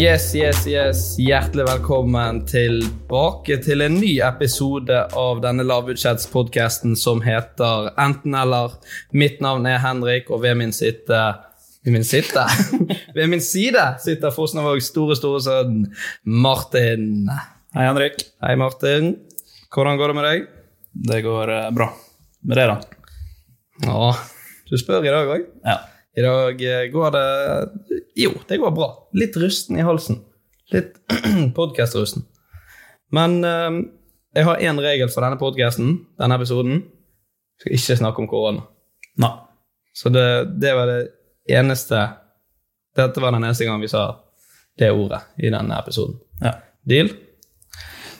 Yes, yes, yes. Hjertelig velkommen tilbake til en ny episode av denne lavbudsjettspodkasten som heter Enten eller. Mitt navn er Henrik, og ved min sitte Ved min sitte? ved min side sitter Fosnavågs store, store sønn Martin. Hei, Henrik. Hei, Martin. Hvordan går det med deg? Det går eh, bra. Med det, da? Ja, du spør i dag òg. Ja. I dag eh, går det Jo, det går bra. Litt rusten i halsen. Litt podkast-rusten. Men eh, jeg har én regel for denne podkasten, denne episoden. Skal ikke snakke om korona. Nei. Så det, det var det eneste Dette var den eneste gangen vi sa det ordet i denne episoden. Ja. Deal?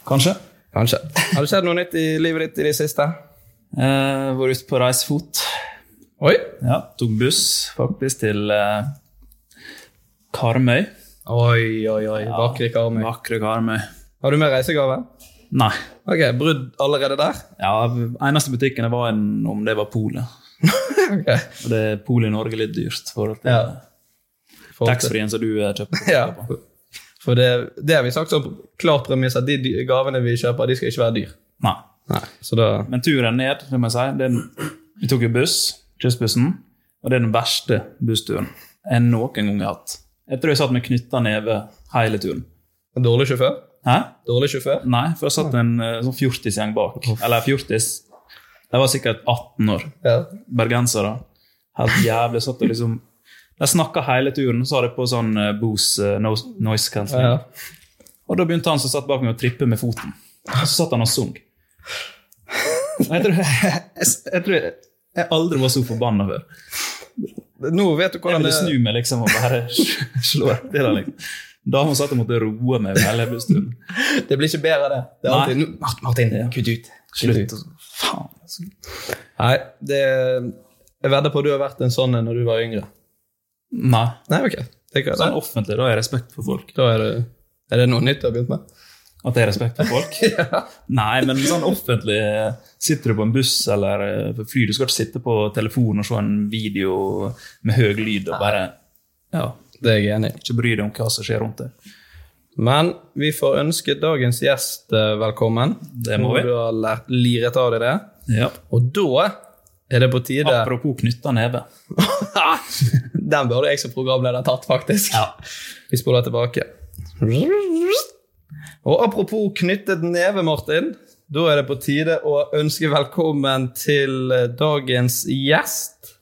Kanskje. Kanskje. Har det skjedd noe nytt i livet ditt i det siste? Eh, var ute på reisefot. Oi! Ja, tok buss faktisk til eh, Karmøy. Oi, oi, oi. Vakre Karmøy. Vakre Karmøy. Har du med reisegave? Nei. Ok, Brudd allerede der? Ja, eneste butikken det var en, om det var polet. Ok. Og det er polet i Norge litt dyrt i forhold til Ja. Forhold til- taxfree-en som du eh, kjøpte. Ja. For det, det har vi sagt som klart premiss, at de dy- gavene vi kjøper, de skal ikke være dyr. Nei. Nei, så da... Men turen ned, det må jeg si det er, den- Vi tok jo buss, kystbussen, og det er den verste bussturen jeg noen gang har hatt. Jeg tror jeg satt med knytta neve hele turen. En dårlig sjåfør? Hæ? Dårlig sjåfør? Nei, for jeg satt en eh, sånn fjortisgjeng bak. Eller fjortis. De var sikkert 18 år. Ja. Bergensere. Helt jævlig. Satt og liksom De snakka hele turen, så hadde jeg på sånn eh, Bose eh, no, noise cancelling. Ja. Og da begynte han som satt bak meg, å trippe med foten. Og så satt han og sung. Og Jeg tror jeg, jeg, tror jeg, jeg aldri var så forbanna før. Nå vet du Jeg hvordan ville snu meg liksom og bare slå til han. liksom. Dama satt og måtte roe meg med hele bussturen. Det blir ikke bedre, det. Det er Nei. alltid Nå, Martin, Martin kutt ut. Slutt. Kutt ut. Faen. altså. Nei, det Jeg vedder på at du har vært en sånn en når du var yngre. Nei. Nei, ok. Det kan, Sånn offentlig, da har jeg respekt for folk. Da er det, er det noe nytt du har begynt med? At jeg har respekt for folk? Nei, men sånn offentlig eh, Sitter du på en buss eller eh, på fly, du skal ikke sitte på telefonen og se en video med høy lyd og bare ja, Det er jeg enig i. ikke bry deg om hva som skjer rundt deg. Men vi får ønske dagens gjest eh, velkommen. Det må vi. Når Du har lært liret av deg det. Ja. Og da er det på tide Apropos knytta neve. Den burde jeg som programleder tatt, faktisk. Vi spoler tilbake. Og apropos knyttet neve, Martin. Da er det på tide å ønske velkommen til eh, dagens gjest.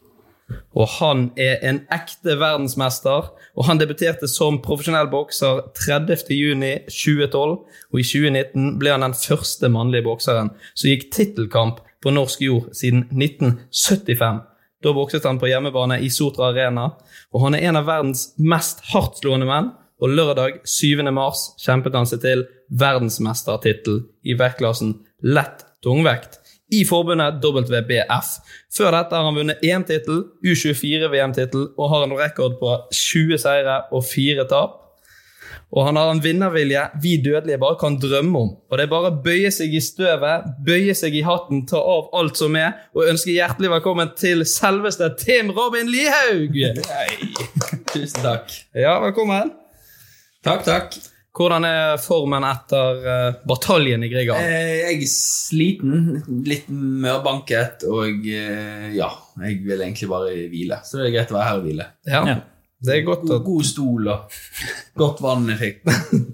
Og han er en ekte verdensmester, og han debuterte som profesjonell bokser 30.6.2012. Og i 2019 ble han den første mannlige bokseren som gikk tittelkamp på norsk jord siden 1975. Da bokset han på hjemmebane i Sotra Arena, og han er en av verdens mest hardtslående menn. Og lørdag 7. mars kjempet han seg til verdensmestertittel i vektklassen lett tungvekt i forbundet WBF. Før dette har han vunnet EM-tittel, U24-VM-tittel og har en rekord på 20 seire og 4 tap. Og han har en vinnervilje vi dødelige bare kan drømme om. Og det er bare å bøye seg i støvet, bøye seg i hatten, ta av alt som er, og ønske hjertelig velkommen til selveste Tim Robin Lihaug! Tusen takk. Ja, velkommen. Takk, takk. Hvordan er formen etter eh, bataljen i Grieghallen? Eh, Jeg er sliten, litt mørbanket, og eh, ja, jeg vil egentlig bare hvile. Så det er greit å være her og hvile. Ja. Ja. Det er godt God, at god stol og godt vann jeg fikk.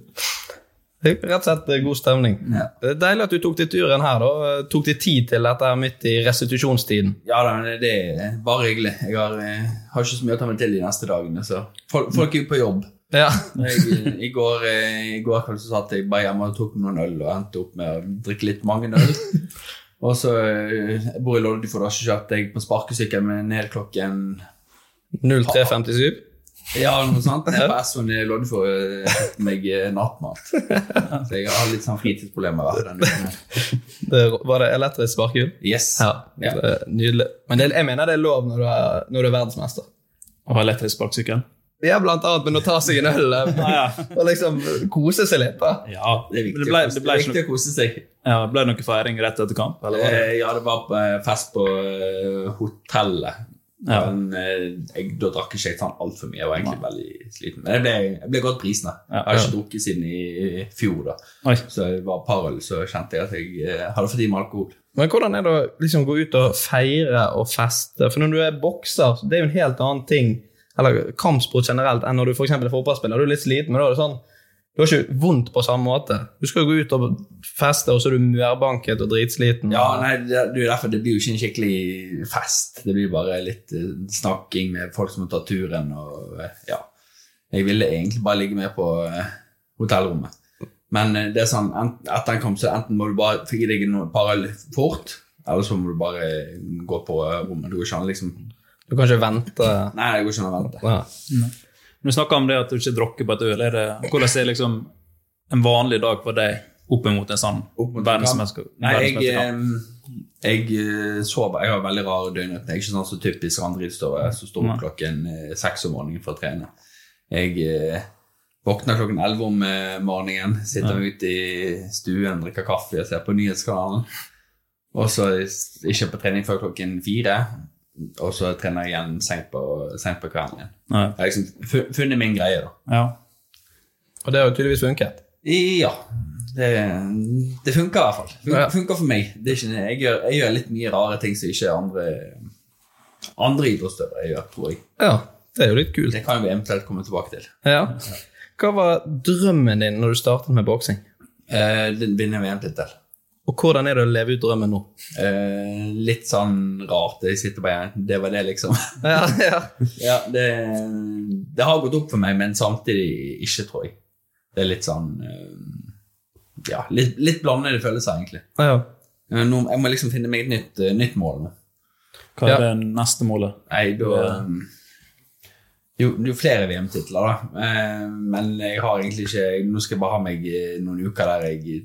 det er Rett og slett eh, god stemning. Ja. Det er deilig at du tok deg turen her. da. Eh, Tok deg tid til dette her midt i restitusjonstiden. Ja da, men det er bare hyggelig. Jeg har, eh, har ikke så mye å ta meg til de neste dagene, så folk, folk er jo på jobb. Ja. Jeg, I går, eh, i går kveld så satt jeg bare hjemme og tok meg noen øl og endte opp med å drikke litt mange øl. Og så eh, jeg bor i Loddefjord, har ikke kjørt jeg på sparkesykkel med ned klokken 0357. Ja, noe sånt. Jeg er på S-en i Loddefjord og kjøpte meg eh, nattmat. Så jeg har litt sånn fritidsproblemer da, denne uken. Det, var det elektrisk sparkehjul? Yes. Ja. Ja. Det er nydelig. Men det, jeg mener det er lov når du er, når du er verdensmester. Og elektrisk sparkesykkel. Ja, blant annet, men å ta seg en øl eh, og liksom kose seg litt. da. Ja, Det er viktig, det ble, å kose- det ble, det er ikke viktig noe, å kose seg. ja, ble det noe feiring rett etter kamp? Eller var det? Eh, Ja, det var på eh, fest på eh, hotellet. Ja. Men eh, jeg, da drakk ikke jeg sånn altfor mye. Jeg var egentlig veldig sliten. Men jeg ble, jeg ble godt prisen. da. Jeg har ikke drukket siden i i fjor. da. Oi. Så jeg var parøl, så kjente jeg at jeg eh, hadde fått i meg alkohol. Men hvordan er det å liksom gå ut og feire og feste? For når du er bokser, så det er jo en helt annen ting, eller kampsport generelt, enn når du for eksempel er fotballspiller. Du er litt sliten, men da er det sånn Du har ikke vondt på samme måte. Du skal jo gå ut og feste, og så er du mørbanket og dritsliten. Ja, nei, det, det er jo derfor det blir jo ikke en skikkelig fest. Det blir bare litt eh, snakking med folk som har tatt turen og eh, ja. Jeg ville egentlig bare ligge med på eh, hotellrommet. Men eh, det er sånn, ent- etter en kamp så enten må du bare få i deg noen par øl fort, eller så må du bare gå på eh, rommet. Du går ikke an liksom Du kan ikke vente. Nei, det går ikke an å vente. Ja. Når du snakker om det at du ikke drukker på et øl, er det, hvordan er liksom en vanlig dag for deg opp mot en sånn Opp mot en verdensmester- Nei, jeg, verdensmesterkamp? eh, jeg eh, sover Jeg har veldig rare døgnrytme. Jeg er ikke sånn som typisk han drittstøver som står opp klokken eh, seks om morgenen for å trene. Jeg eh, våkner klokken elleve om eh, morgenen, sitter ute i stuen, drikker kaffe og ser på nyhetskanalen. Og så s- ikke på trening før klokken fire. Og så trener jeg igjen sent på, sent på kvelden igjen. Nei. Jeg har liksom fu- funnet min greie, da. Ja. Og det har jo tydeligvis funket. Ja. Det, det funker i hvert fall. Fun, Ja. Funker for meg. Det er ikke, jeg, gjør, jeg gjør litt mye rare ting som ikke andre andre idrettsutøvere gjør, tror jeg. Ja, det er jo litt kult. Det kan vi eventuelt komme tilbake til. Ja. Hva var drømmen din når du startet med boksing? Eh, den vinner VM-tittel. Og hvordan er det å leve ut drømmen nå? Eh, litt sånn rart. Jeg sitter bare igjen. Det var det, liksom. Ja, ja. ja, det, det har gått opp for meg, men samtidig ikke, tror jeg. Det er litt sånn eh, Ja, litt, litt blandede følelser, egentlig. Ah, ja. Eh, Nå, jeg må liksom finne meg et nytt, eh, nytt mål nå. Hva er Ja. det neste målet? Nei, da um, Jo, det er jo flere VM-titler, da. Eh, Men jeg har egentlig ikke jeg- Nå skal jeg bare ha meg eh, noen uker der jeg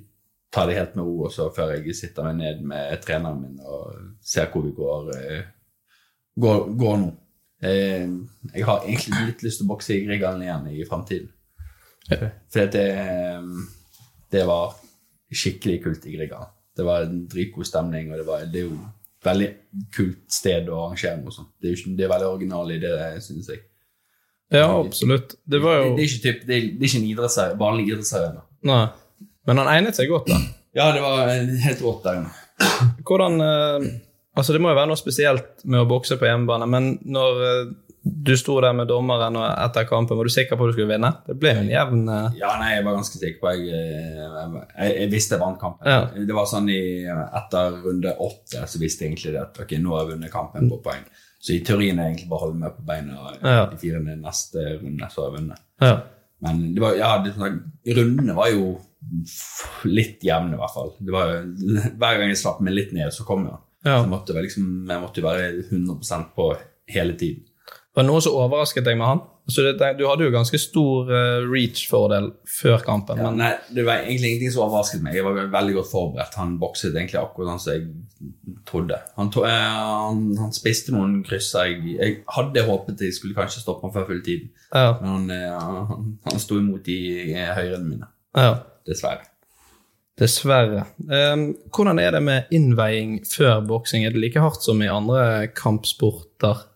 tar det helt med ro, og så før jeg sitter meg ned med treneren min og ser hvor vi går, eh, går, går nå. Eh, Jeg har egentlig litt lyst til å bokse i Grieghallen igjen i framtiden. For det, um, det var skikkelig kult i Grieghallen. Det var en dritgod stemning, og det, var, det er jo et veldig kult sted å arrangere noe sånt. Det er, jo ikke, det er veldig original i det, synes jeg. ja absolutt. Det var jo Det, det, er, ikke typ, det, er, det er ikke en idrettsarena, vanlig idrettsarena. Nei. Men han egnet seg godt, da. Ja, det var eh, helt rått der inne. Hvordan eh, Altså, det må jo være noe spesielt med å bokse på hjemmebane, men når eh, du sto der med dommeren og etter kampen, var du sikker på at du skulle vinne? Det ble jo en jevn eh, Ja, nei, jeg var ganske sikker på jeg, jeg, jeg, jeg visste jeg vant kampen. Ja. eh, Det var sånn i, etter runde åtte så visste jeg egentlig det at ok, nå har jeg vunnet kampen på poeng. Så i teorien er jeg egentlig bare å holde meg på beina Ja. de fire neste runde, så har jeg vunnet. Ja. Men det var, ja, det, rundene var jo f- litt jevne, i hvert fall. Det var, jo- hver gang jeg slapp meg litt ned, så kom jeg. Ja. Så måtte jeg, liksom, jeg måtte jo være 100 på hele tiden. Var det noe som overrasket deg med han? Så det, du hadde jo ganske stor eh, reach-fordel før kampen, Men men nei, det var egentlig ingenting som overrasket meg. Jeg var veldig godt forberedt. Han bokset egentlig akkurat sånn som jeg trodde. Han, to, eh, han, han spiste noen krysser. Jeg, jeg hadde håpet jeg skulle kanskje stoppe han før full tid, ja, men han, eh, han, han sto imot de eh, høyrene mine, ja. dessverre. Dessverre. Ehm, hvordan er det med innveiing før boksing? Er det like hardt som i andre kampsporter?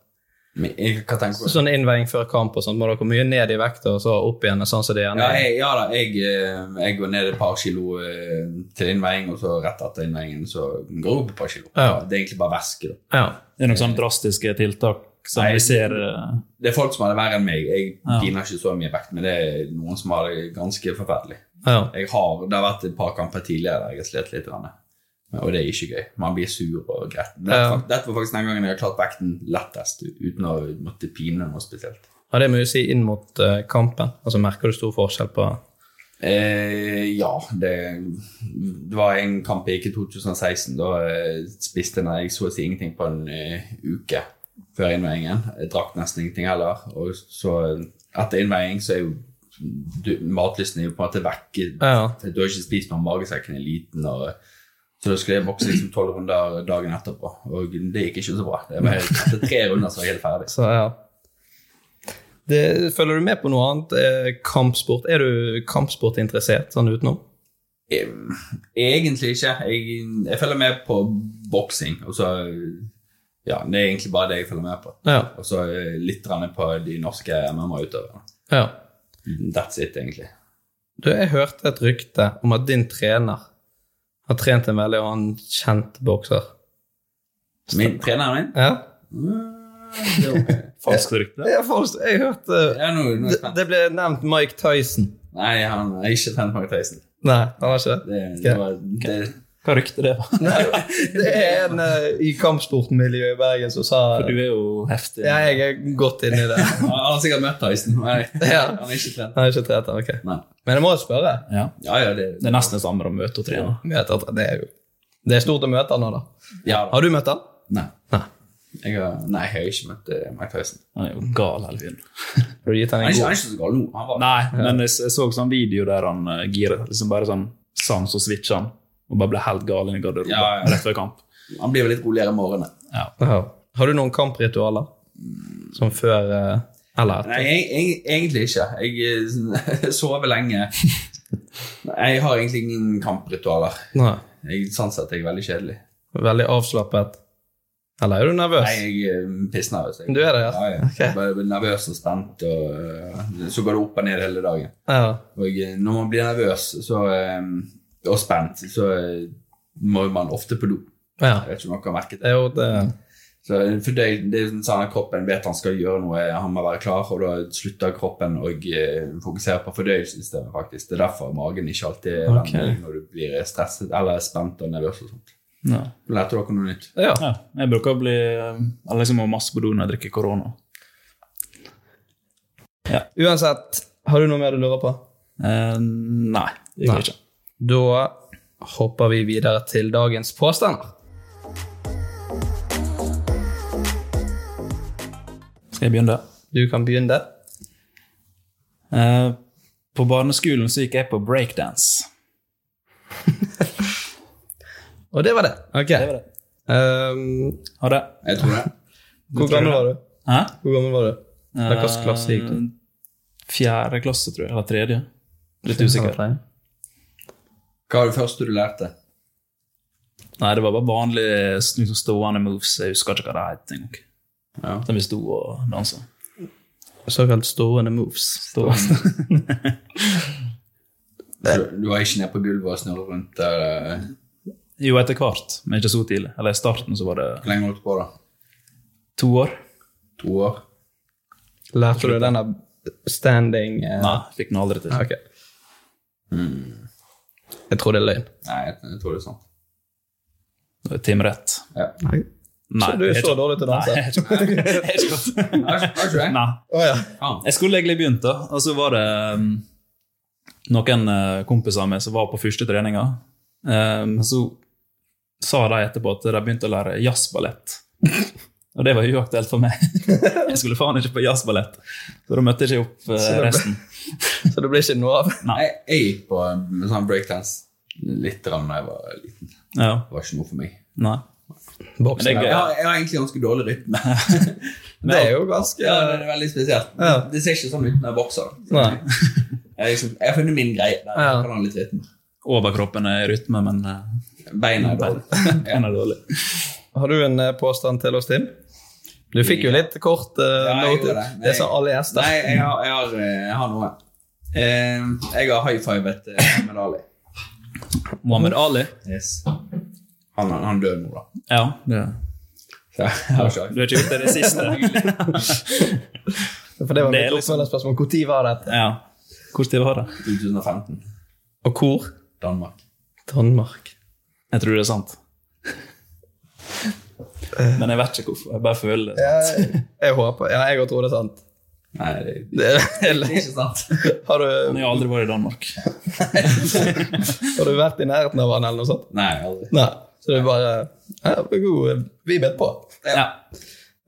Men jeg, hva tenker du? Sånn innveiing før kamp og sånn, må dere komme mye ned i vekt og så opp igjen? sånn som det gjerne Ja, er? jeg, ja da, jeg, eh, jeg går ned et par kilo eh, til innveiing, og så rett etter innveiingen så går jeg opp et par kilo. Ja. Det er egentlig bare væske. da. Ja. Det er noen sånne drastiske tiltak som Eh, Nei. vi ser eh, Det er folk som har det verre enn meg. Jeg piner ikke så mye vekt, men det er noen som har det ganske forferdelig. Ah, ja. Jeg har, det har vært et par kamper tidligere der jeg har slitt litt, grann, og det er ikke gøy. Man blir sur og gretten. Dette, Ja. fak- dette var faktisk den gangen jeg har klart vekten lettest, uten å måtte pine noe spesielt. Ja, det må jo si inn mot eh, kampen. Altså Merker du stor forskjell på Eh, ja, det, det var en kamp jeg gikk i 2016. Da eh, spiste jeg- jeg så å si ingenting på en eh, uke før innveiingen. Jeg drakk nesten ingenting heller. Og så eh, etter innveiing så er jo du, matlysten er jo på en måte vekk. Ja. Du har ikke spist noe, magesekken er liten. Og, så da skulle jeg bokse liksom tolv runder dagen etterpå, og det gikk ikke så bra. Det var helt, etter tre runder så var jeg helt ferdig. Så ja. Det, følger du med på noe annet? Eh, kampsport? Er du kampsportinteressert sånn utenom? Em, Egentlig ikke. Jeg, jeg følger med på boksing. Og så Ja, det er egentlig bare det jeg følger med på. Ja. Og så eh, litt grann på de norske MMA-utøverne. ja. That's it, egentlig. Du, jeg hørte et rykte om at din trener har trent en veldig annen kjent bokser. Min treneren min? Ja? falske rykter. Jeg, forst, jeg hørte Ja, nå, nå er jeg det, spent. det ble nevnt Mike Tyson. Nei, han har ikke trent Mark Theisen. Nei, han har ikke Det, det? det, var- det, Hva rykte det var? Det er en eh, i kampsportmiljøet i Bergen som sa For du er jo heftig. Ja, jeg er godt inni det. han har sikkert møtt Theisen, men Ja. han har ikke trent. Han har ikke trent, han, ok. Nei. Men jeg må jo spørre. Ja. Ja, ja, det, Det er nesten det samme å møte og trene. Møter, han- det, er jo, det er stort å møte han nå, da. ja da. Har du møtt han? Nei. Nei. Jeg har, nei, jeg har ikke møtt eh, Mark Theisen. Han er jo gal, hele fyren. Har du gitt han Han en er ikke, han god er ikke så gal nå. Han var Nei, men jeg, s- jeg så sånn video der han eh, giret. Liksom bare sånn sang så switcha han. Og bare ble helt gal inn i garderoben Ja, ja. rett før kamp. Han blir vel litt roligere i morgen. da. Ja. Har du noen kampritualer? Som før eh, eller etter? Nei, eg- eg- egentlig ikke. Jeg eh, sover lenge. Nei, Jeg har egentlig ingen kampritualer. Nei. Jeg, sånn sett er jeg veldig kjedelig. Veldig avslappet? Eller er du nervøs? Nei, jeg eh, er pissnervøs. jeg. Du er det, ja? Ja, ja. Ok. Bare blir nervøs og spent, og eh, så går det opp og ned hele dagen. Ja. Og eh, når man blir nervøs så, eh, og spent, så eh, må man ofte på do. ja. Jeg vet ikke om dere har merket Det det. er jo det Så eh, for det, det er sånn at Kroppen vet han skal gjøre noe, eh, han må være klar, og da slutter kroppen å eh, fokusere på fordøyelsessystemet. faktisk. Det er derfor magen ikke alltid er Ok. vennlig når du blir stresset eller spent og nervøs. og sånt. Ja. Lærte dere noe nytt? Ja. Ja, jeg bruker å bli eh, Eller liksom må masse på do når jeg drikker korona. Uansett, har du noe mer du lurer på? Eh, nei, det gjør jeg ikke. Da hopper vi videre til dagens påstander. Skal jeg begynne? Du kan begynne. Eh, på barneskolen så gikk jeg på breakdance. Og det var det. Ok. Det var det. Ehm, Ha det. Jeg tror det. hvor gammel var du? Hæ? Hvor gammel var du? Eller hvilken klasse gikk du? Eh, Fjerde klasse, tror jeg. Eller tredje. Litt usikker. Hva var det første du lærte? Nei, det var bare vanlige liksom, stående moves. Jeg husker ikke hva det het engang. Ja. Som vi sto og dansa. Såkalt stående moves. Du, du var ikke nede på gulvet og snurret rundt? eh, eller Jo, etter hvert, men ikke så tidlig. Eller i starten så var det Hvor lenge holdt du på, da? to år. To år? Lærte du den der standing eh, Nei, fikk den aldri til. Ok. Hmm. Jeg tror det er løgn. Nei, jeg, jeg tror det er sant. Det var Tim rett. sånn. Ja. Nei, Så du er jeg så ikke- dårlig til å danse? Nei, jeg er ikke- jeg er ikke Har ikke- har ikke det? Nei. Å ja. Ah. Jeg skulle egentlig begynt, da. Og så var det um, noen eh, kompiser av meg som var på første treninga. Um, så sa de etterpå at de begynte å lære jazzballett. Og det var jo uaktuelt for meg. Jeg skulle faen ikke på jazzballett. Så da møtte jeg ikke opp eh, Så det ble- resten. Så det blir ikke noe av? Jeg, jeg gikk på um, sånn breakdance litt da jeg var liten. Ja, Det var ikke noe for meg. nei. Boksen. Men det er Jeg gøy. har, jeg har egentlig ganske dårlig rytme. Det er jo ganske Ja, det er veldig spesielt. Ja. Det ser ikke sånn ut når jeg bokser. da. Nei. Jeg, liksom, jeg har funnet min greie. Der. Ja. Jeg kan ha litt rytme. Overkroppen er i rytme, men eh, Beina er dårlige. den er dårlig. Har du en eh, påstand til oss, Tim? Du fikk jo litt kort eh, Ja, jeg note. gjorde det. det. er som alle gjester. Nei, jeg har, jeg har, eh, jeg har noe. Eh, Jeg har high-fivet eh, Ahmed Ali. Muhammad Ali? Han, han, han dør nå, da. Ja. det- Så jeg har ikke Du har ikke gjort det i det siste? For det var det mitt er liksom- oppfølgingsspørsmål. Hvor tid var dette? Ja. Hvordan var det? 2015. Og hvor? Danmark. Danmark. Jeg tror det er sant. Men jeg vet ikke hvorfor. Jeg bare føler det. Jeg, jeg håper Ja, jeg òg tror det er sant. Nei, det, det Det er, er ikke sant. har, Men du, Jeg har aldri vært i Danmark. har du vært i nærheten av han eller noe sånt? Nei, aldri. Nei. Så det er bare ja, vi er gode. Vi bet på. Ja.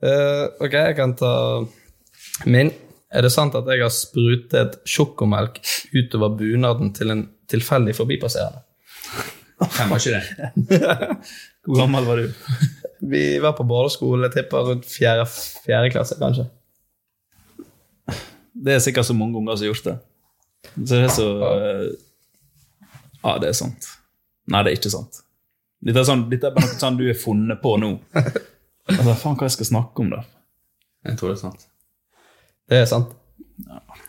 Eh, ok, jeg kan ta min. Er det sant at jeg har sprutet sjokomelk utover bunaden til en tilfeldig forbipasserende? Hvem var ikke det? Hvor gammel var du? Vi var på barneskole, jeg tipper rundt fjerde, fjerde klasse, kanskje. Det er sikkert så mange unger som har gjort det. Så det er så eh, Ja, det er sant. Nei, det er ikke sant. Dette er, sånn, dette er bare noe sånn du er funnet på nå. Altså, Faen, hva jeg skal snakke om, da? Jeg tror det er sant. Det er sant.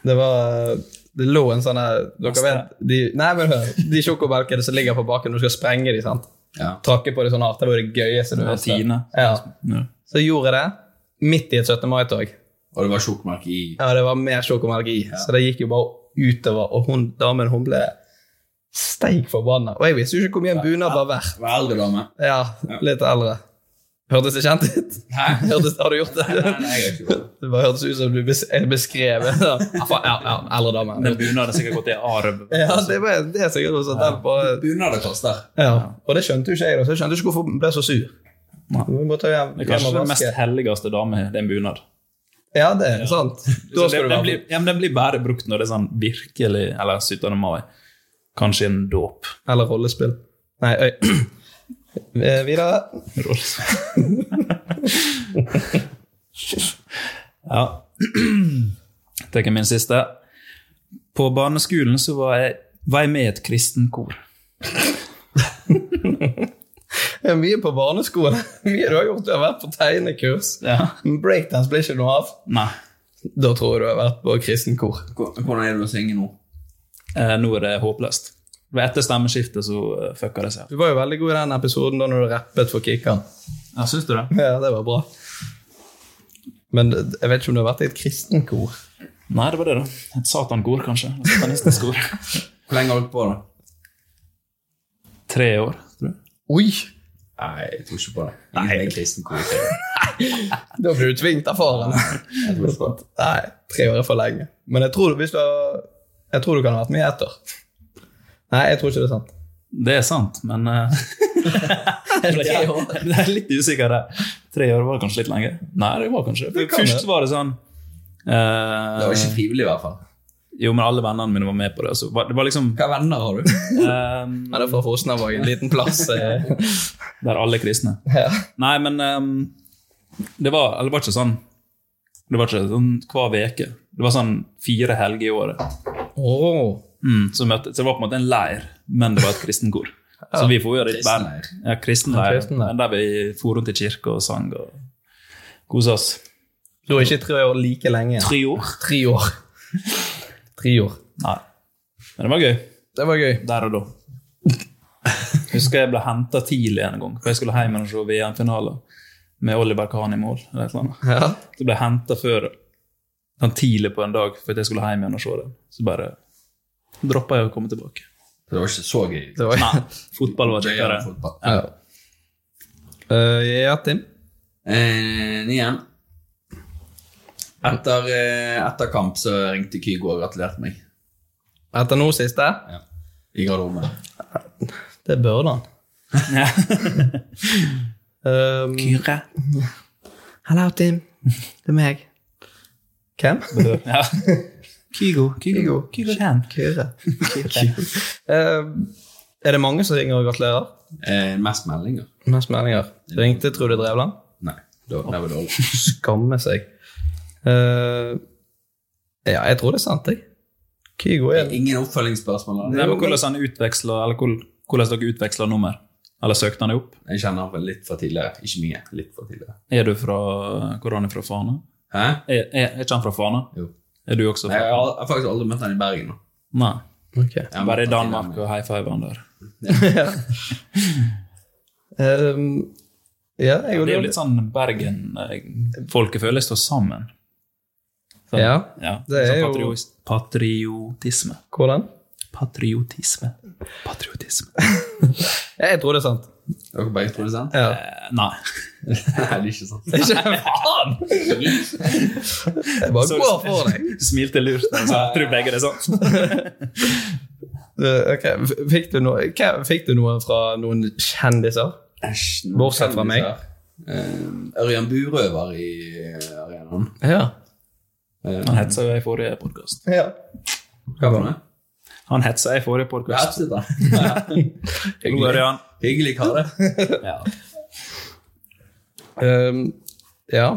Det var Det lå en sånn her Dere vet de, Nei, men hør. De sjokomelkene som ligger på baken når du skal sprenge de, sant? Ja. Trakke på de sånn hardt. Det var jo det gøyeste du Det er visste. Tine. Ja. Ja. Så gjorde jeg det midt i et 17. mai-tog. Og det var sjokomelk i Ja, det var mer sjokomelk i, så det gikk jo bare utover. Og hun, damen hun ble steik forbanna. Og jeg visste jo ikke hvor mye en bunad var verdt. Hva er eldre dame? Ja, litt eldre. Hørtes det kjent ut? Hæ? Hørtes, har du gjort det? Nei, nei, jeg har ikke gjort det. Det bare hørtes ut som du bes jeg beskrev ja, faen, ja, ja, eldre dame. Den bunaden har sikkert gått i arv. Altså, Ja, det, var, det er sikkert noe sånt. den bare- Bunader koster. eh, Ja. Og det skjønte jo ikke jeg, da, så jeg skjønte ikke hvorfor hun ble så sur. Vi må ta hjem, Det er hjem kanskje og den mest vaske. helligste dame, det er en bunad. Ja, det er sant. Da Så skal den, du den, være blir, ja, men den blir bare brukt når det er sånn virkelig Eller 17. mai. Kanskje en dåp. Eller rollespill. Nei, øy. Eh, Videre. ja. Tar min siste. På barneskolen så var jeg, var jeg med i et kristenkor. Jeg er mye på barneskolen. Mye du har gjort. Du har vært på tegnekurs. Ja. Men Breakdance blir ikke noe av. Nei. Da tror jeg du har vært på kristenkor. Hvor- Hvordan er det å synge nå? Eh, nå er det håpløst. Men Etter stemmeskiftet så eh, fucka det seg. Du var jo veldig god i den episoden da når du rappet for Kikkan. Ja, Syns du det? Ja, det var bra. Men jeg vet ikke om du har vært i et kristenkor. Nei, det var det, da. Et satankor, kanskje. Et satanistisk kor. Hvor lenge har dere på det? Tre år, tror jeg. Oi! Nei, jeg tror ikke på det. Nei, jeg er kristen kor. Jeg Da ble du tvingt av faren. tror ikke på det. Nei, tre år er for lenge. Men jeg tror, hvis du, har, jeg tror du kan ha vært med etter. Nei, jeg tror ikke det er sant. Det er sant, men eh, Tre år. Jeg er litt usikker der. Tre år var kanskje litt lenge. Nei, det var kanskje det. kan Først det. var det sånn eh, Det var ikke frivillig, i hvert fall. Jo, men alle vennene mine var med på det. Så var- det var liksom Hva venner har du? eh, Men det er fra Fosnavåg, en liten plass. eh. Der alle er kristne. Ja. Nei, men eh, det var Eller det var ikke sånn Det var ikke sånn hver veke. Det var sånn fire helger i året. Åh. Mm, så, møtte, så det var på en måte en leir, men det var et kristenkor. Så vi får jo dit Kristen bare- leir. Ja, kristen leir. kristen leir. Men der vi for rundt i kirke og sang og kosa oss. Da er ikke tre år like lenge. Tre år. Tre år. Tre år. Nei. Men det var gøy. Det var gøy. Der og da. Husker jeg ble henta tidlig en gang, for jeg skulle hjem og se VM-finale med Oliver Kahn i mål. eller et eller annet. Ja. Så ble jeg henta før sånn tidlig på en dag for at jeg skulle hjem igjen og se det. Så bare droppa jeg å komme tilbake. Det var ikke så gøy. Det var... Nei, fotball var Gøyere kjekkere. enn fotball. ja. Eh, ja, Tim. Eh, igjen. Etter, eh, etter kamp så ringte Kygo og gratulerte meg Etter nå siste? i garderoben. Det burde han. um, Kyre. Hello, Tim. Det er meg. Hvem? Ja. Kygo. Kygo. Kygo Chan. Kyrre. Um, er det mange som ringer og gratulerer? Eh, mest meldinger? Mest meldinger. Ringte Trude Drevland. Nei. Det var, det var dårlig. Skamme seg. Eh, ja, jeg tror det er sant, jeg. Kygo er Ingen oppfølgingsspørsmål? Nei, eller? men hvordan han utveksler, eller hvor- hvordan dere utveksler nummer? Eller søkte han det opp? Jeg kjenner ham litt fra tidligere. Ikke mye. Litt fra tidligere. Er du fra, hvor er han fra Fana? Hæ? Er, er, er ikke han fra Fana? Jo. Er du også Nei, fra jeg har jeg har faktisk aldri møtt han i Bergen. nå. Nei. Ok. Jeg har Bare i møtt han Danmark og high five han der. Um, ja, jeg Det og er jo du- litt sånn eh, Bergen-folket føler seg sammen. Sånn, Ja, det er sånn jo- patriotis- Patriotisme. Hvordan? Patriotisme. Patriotisme. Ja, jeg tror det er sant. Dere begge tror det er sant? Ja. Eh, nei. Nei, det er ikke sant. Ikke faen! Jeg bare går for deg. Smilte lurt. Altså, jeg tror begge det er sant. Eh, ok, f- Fikk du, noe, hva- fikk du noe fra noen kjendiser? Æsj, nå Bortsett fra kan vi meg. se. Eh, Ørjan Burøver i eh, arenaen. Ja. Eh, Han hetsa jo i forrige podkast. ja. hva for noe? Han hetsa i forrige Ja, podkast. absolutt, da. Nå er det han. Hyggelig kar, det. Um, ja.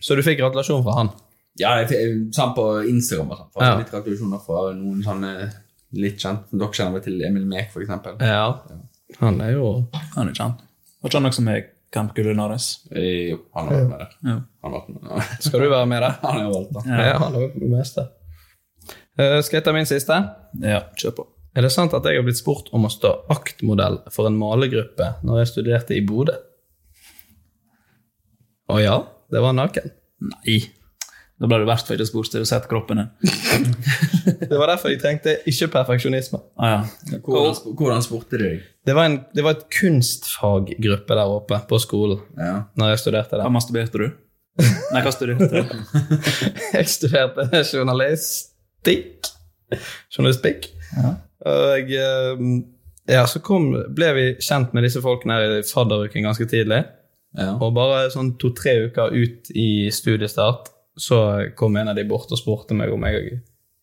Så du fikk gratulasjon fra han? Ja, jeg fikk- sånn på Instagram og sånn. Får Ja. Litt gratulasjoner fra noen sånne litt kjente. Dere kjenner vel til Emil Mek, for eksempel. Ja. Han er jo Han er ikke han. Var ikke han også med i Camp Gullinares? Eh, Jo, han har vært med der. Ja. Han har vært med der. Skal du være med, da? Han har jo valgt, da. Ja, han er jo på det meste. Eh, skal jeg ta min siste? Ja, kjør på. Er det sant at jeg har blitt spurt om å stå aktmodell for en malergruppe når jeg studerte i Bodø? Å ja, det var naken. Nei. Da ble du verst for ikke spurt til å sette kroppen din. Det var derfor jeg trengte ikke perfeksjonisme. Ah, ja. Hvordan, sp- hvordan spurte de deg? Det var, en, det var et kunstfaggruppe der oppe på skolen Ja. når jeg studerte Hva der. masturberte du? Nei, hva studerte du? Jeg studerte journalistikk. Journalistikk. Og jeg, eh, ja, så kom, ble vi kjent med disse folkene her i fadderuken ganske tidlig. Ja. Og bare sånn to-tre uker ut i studiestart så kom en av de bort og spurte meg om jeg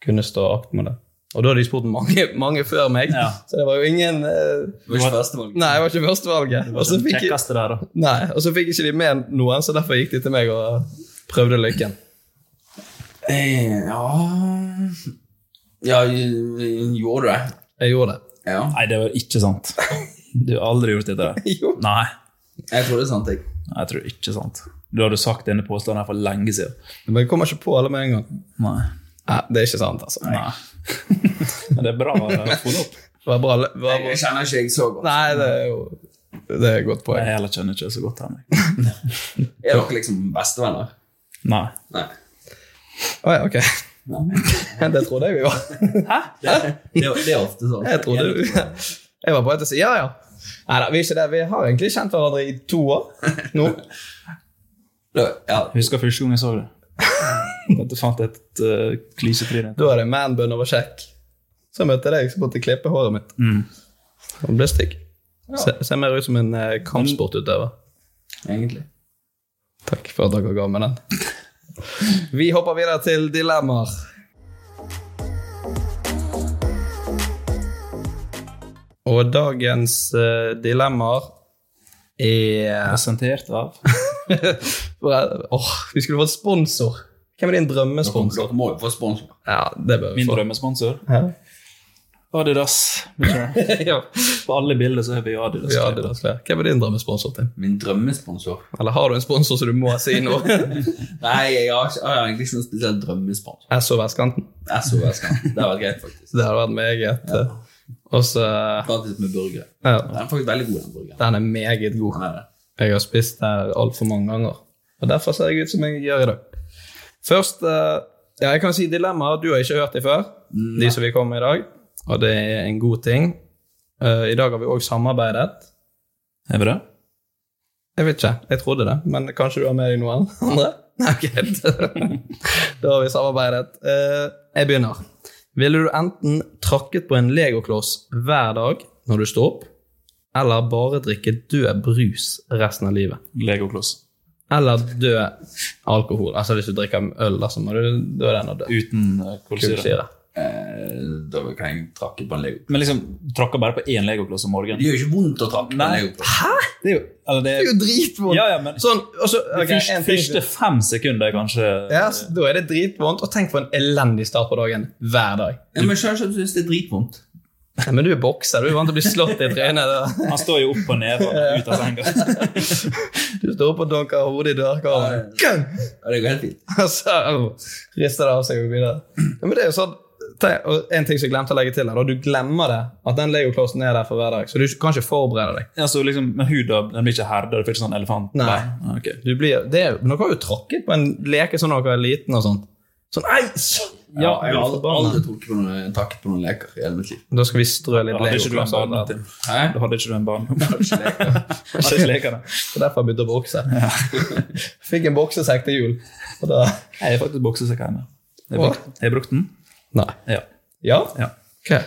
kunne stå akt med det. Og da hadde de spurt mange, mange før meg, Ja. så det var jo ingen eh, Det var ikke førstevalg. Nei, jeg var ikke førstevalget. Og så Den fikk, kjekkeste der, da. nei, og så fikk ikke de med noen, så derfor gikk de til meg og prøvde lykken. Eh, Ja Ja, gjorde du det? Jeg gjorde det. Ja. Nei, det var ikke sant. Du har aldri gjort det der. Jo. Nei, Jeg tror det er sant, jeg. jeg tror ikke sant. Du hadde sagt denne påstanden her for lenge siden. Men jeg kommer ikke på alle med en gang. Nei. Nei, det er ikke sant, altså. Nei. Men det er bra å holde opp. Det var bra, det var bra. Jeg kjenner ikke jeg så godt. Nei, det er jo det er et godt Jeg poeng. heller kjenner ikke så godt her. Er dere liksom bestevenner? Nei. Nei. Å ja, ok. Det trodde jeg vi var. Det, det er ofte sånn. Jeg trodde du Jeg var på vei til å si ja, ja. Nei da, vi er ikke det. Vi har egentlig kjent hverandre i to år nå. Ja, Husker første gang jeg så det. At du fant et uh, klysetryne. Da er det manbun over kjekk. Så møtte jeg deg, så måtte jeg klippe håret mitt. Og ble stygg. Se- Ser mer ut som en eh, kampsportutøver. egentlig. Takk for at dere ga meg den. Vi hopper videre til dilemmaer. Og dagens eh, dilemmaer er Presentert av Åh, vi skulle fått sponsor. Hvem er din drømmesponsor? Dere må jo få sponsor. Ja, det bør vi min få. drømmesponsor. Hæ? Adidas. ja, På alle bilder så har vi Adidas. ja, det er det. Hvem er din drømmesponsor, Tim? Min drømmesponsor? Eller har du en sponsor så du må si noe? Nei, jeg har, ikke, jeg sånn har egentlig ikke noen spesiell drømmesponsor. SO Vestkanten. SOS kan. Det har vært greit, faktisk. Det hadde vært meget. eh, Og så eh, Gratis med burgere. ja, Den er faktisk veldig god, den burgeren. Den er meget god. Den er det. Jeg har spist der altfor mange ganger. Og derfor ser jeg ut som jeg gjør i dag. Først eh, ja, Jeg kan si dilemmaer du har ikke hørt de før, de som vi kom med i dag. Og det er en god ting. Eh, I dag har vi òg samarbeidet. Er vi det? Jeg vet ikke. Jeg trodde det, men kanskje du har med deg noen andre? Nei, greit. da har vi samarbeidet. Eh, Jeg begynner. Ville du enten trakket på en legokloss hver dag når du står opp, eller bare drikke død brus resten av livet? Legokloss. Eller dø alkohol. Altså hvis du drikker øl, da, så må du dø den og dø. Uten eh, kullsyre. Kullsyre. Eh, Da kan jeg trakke på en lego. Men liksom, du tråkker bare på én legokloss om Det morgenen. gjør ikke vondt å trakke på en Nei. lego. Det er jo, eller det Det er jo dritvondt! Ja, ja, men Sånn, og så, ok, første, en ting- første fem sekunder er kanskje Ja, så da er det dritvondt. Og tenk for en elendig start på dagen hver dag. Ja, men skjønner ikke at du synes det er dritvondt. Nei, men du er bokser, du er vant til å bli slått i trynet. da. Han står jo opp og ned og ut av senga. Du står opp og dunker hodet i dørkarmen, Gung! Ja, det går helt fint. og så rister det av seg og videre. Ja, men det er jo sånn, tenk- og En ting som jeg glemte å legge til, her, da, du glemmer det, at den legoklossen er der for hver dag. Så du kan ikke forberede deg. Ja, så liksom, men huden den blir ikke herda, det blir ikke sånn elefant? Nei. Ah, ok. Du blir, det er, jo- men dere har jo tråkket på en leke som dere er liten og sånt. Sånn, nei, s- ja, Ja, jeg har aldri, aldri forbanna. trukket på noen, takket på noen leker i hele mitt liv. Da skal vi strø litt Da hadde ikke du en legoklosser. barndom, over. Tim. Hæ? Da hadde ikke du en barndom. Jeg har ikke leker. Hadde ikke leket det. Så derfor begynte jeg å bokse. Fikk en boksesekk til jul. Og da Jeg har faktisk boksesekk hjemme. Har jeg Hva? brukt- har jeg brukt den? Nei. Ja. Ja? ja. Ok.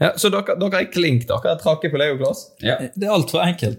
Ja, så dere, dere er klink, dere. Trakk i på legokloss. Ja. Det er altfor enkelt.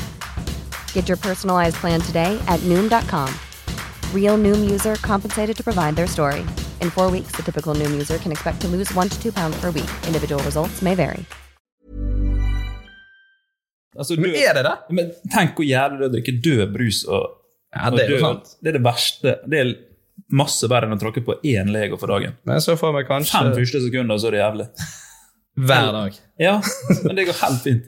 Get your personalized plan today at Noom.com. Real Noom user compensated to provide their story. In four weeks, the typical Noom user can expect to lose one to two pounds per week. Individual results may vary. Altså, Men er det det? Men tenk hvor jævlig det er å drikke død brus og, Ja, og det er jo død- sant. Det er det verste. Det er masse verre enn å tråkke på én Lego for dagen. Men så får vi kanskje Fem første sekunder, så er det jævlig. hver dag. Ja, men det går helt fint.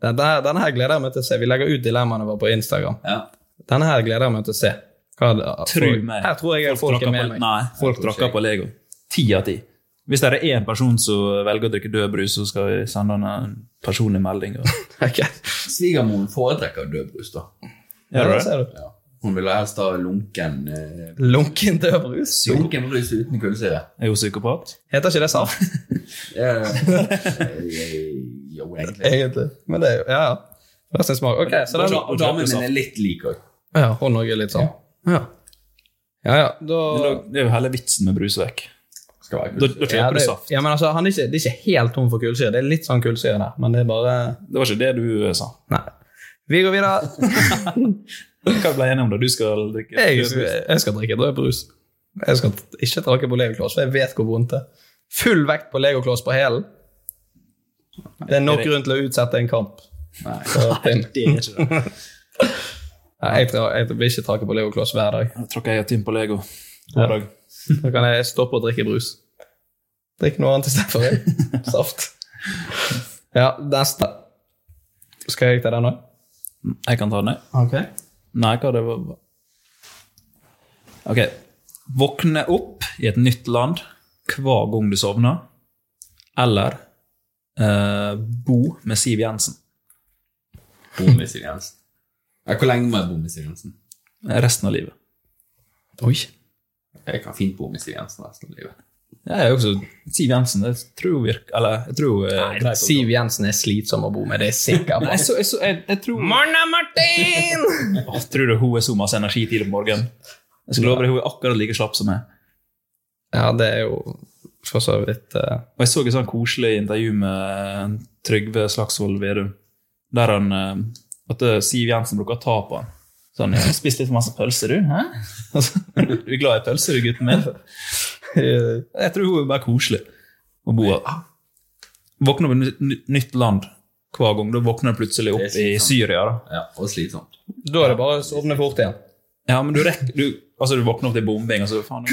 Denne, her- denne her gleder jeg meg til å se. Vi legger ut dilemmaene våre på Instagram. Ja. Denne her gleder jeg meg til å se. Hva- Tro folk- meg. Her tror jeg folk, tråkker er med på, meg. Nei, folk tråkker på Lego. Ti av ti. Hvis det er én person som velger å drikke død brus, så skal vi sende han en personlig melding. Og... Ok. Svigermoren foretrekker dødbrus, da. Ja, Gjør du det det? ser du. Ja. Hun ville helst ha lunken eh, Lunken død brus. Lunken brus uten kullsyre. Er hun psykopat? Heter ikke det saft? Ja, ja, ja. Eh, Jo, egentlig. Egentlig. Men det er jo Ja, ja. Verstingesmak. Ok, eh, så den Og damen min er litt lik òg. Ja, og Norge er litt sånn. Ja. Ja, ja, da Det er jo hele vitsen med brus vekk. Da, da kjøper Ja, det- du saft. Ja, men altså, han er ikke, det er ikke helt tom for kullsyre. Det er litt sånn kullsyre der, men det er bare Det var ikke det du eh, sa. Nei. Vi går videre. Hva ble jeg enige om da du skal drikke? Jeg, jeg skal drikke drøybrus. Jeg skal ikke drake på legokloss, for jeg vet hvor vondt det er. Full vekt på legokloss på hælen. Det er nok grunn til å utsette en kamp. Nei, for Tim. det er ikke det. Nei, jeg, tror, jeg vil ikke trake på legokloss hver dag. Jeg tror ikke jeg har Tim på Lego. Ja. Da kan jeg stoppe å drikke brus. Drikk noe annet istedenfor. Saft. Ja, neste. Skal jeg ta den òg? Jeg kan ta den, jeg. Ok. Nei, hva det var Ok. Våkne opp i et nytt land hver gang du sovner, eller eh, bo med Siv Jensen. Bo med Siv Jensen. Ja, hvor lenge må jeg bo med Siv Jensen? Eh, Resten av livet. Oi. Jeg kan fint bo med Siv Jensen resten av livet. Jeg er jo også Siv Jensen. Jeg tror virker Eller jeg tror eh, greit å- Siv Jensen er slitsom å bo med, det er jeg sikker Nei, på. jeg, så, jeg, så, jeg, jeg tror Morna, Martin! Åh, Tror du hun er så masse energi tidlig på morgenen? Jeg skal love deg, hun er akkurat like slapp som meg. Ja, det er jo for så vidt eh, Og jeg så et sånn koselig intervju med eh, Trygve Slagsvold Vedum, der han eh, at eh, Siv Jensen bruker å ta på han. Sånn, «Ja, 'Spis litt for masse pølser, du.' Hæ? Og så, du er glad i pølser, du, gutten min? Jeg tror hun er bare koselig å bo her. Våkner opp i et ny- nytt land hver gang. Da våkner du plutselig Det opp er i slitsomt. Syria. da. Ja, Og slitsomt. Da er det bare å sovne fort igjen. Ja, men du rekker du, Altså, du våkner opp til bombing, og så faen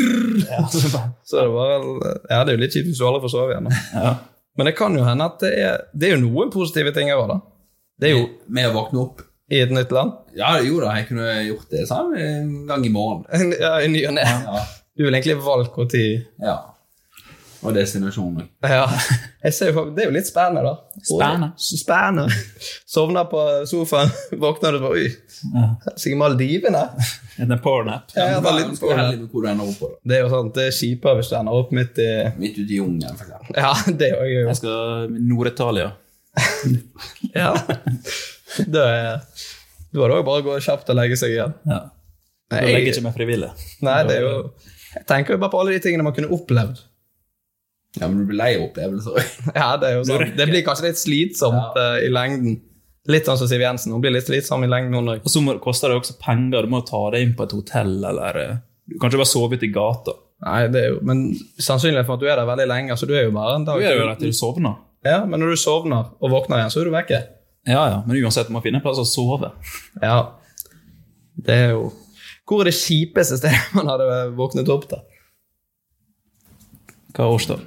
ja, så, bare- Så er det bare Ja, det er jo litt kjipt hvis du aldri får sove igjen. da. ja. Men det kan jo hende at det er Det er jo noen positive ting her òg, da. Det er jo Med å våkne opp i et nytt land. Ja, jo da, jeg kunne gjort det sånn en gang i morgen. Ja, i ny og ne. Ja. Du vil egentlig valgt når ja. Og destinasjonen. Ja. Jeg ser jo, det er jo litt spennende, da. Spennende. Spennende. Sovner på sofaen, våkner du og bare Oi, sikkert Maldivene? En powernap. Ja, jeg var litt Ganske heldig med hvor du ender opp på. da. Det er jo sant, det er kjipere hvis du ender opp midt i Midt ute i jungelen, for eksempel. Ja, det er jo Jeg skal Nord-Italia. ja. Da er Da er det òg bare å gå kjapt og legge seg igjen. Ja. Da Nei, legger jeg ikke meg frivillig. Nei, det er jo Jeg tenker jo bare på alle de tingene man kunne opplevd. Ja, men du blir lei av opplevelser. Ja, Det er jo sant. Det blir kanskje litt slitsomt eh, i lengden. Litt sånn som Siv Jensen. Hun blir litt slitsom i lengden, hun òg. Og så må, koster det også penger. Du må ta deg inn på et hotell, eller eh, Du kan ikke bare sove ute i gata. Nei, det er jo, men sannsynligheten for at du er der veldig lenge, så du er jo bare en Du dag er jo der til du sovner. Ja, Men når du sovner og våkner igjen, så er du vekke. Ja, ja, men uansett, du må finne en plass å sove. Ja. Det er jo Hvor er det kjipeste stedet man hadde våknet opp til? Hva er årstall?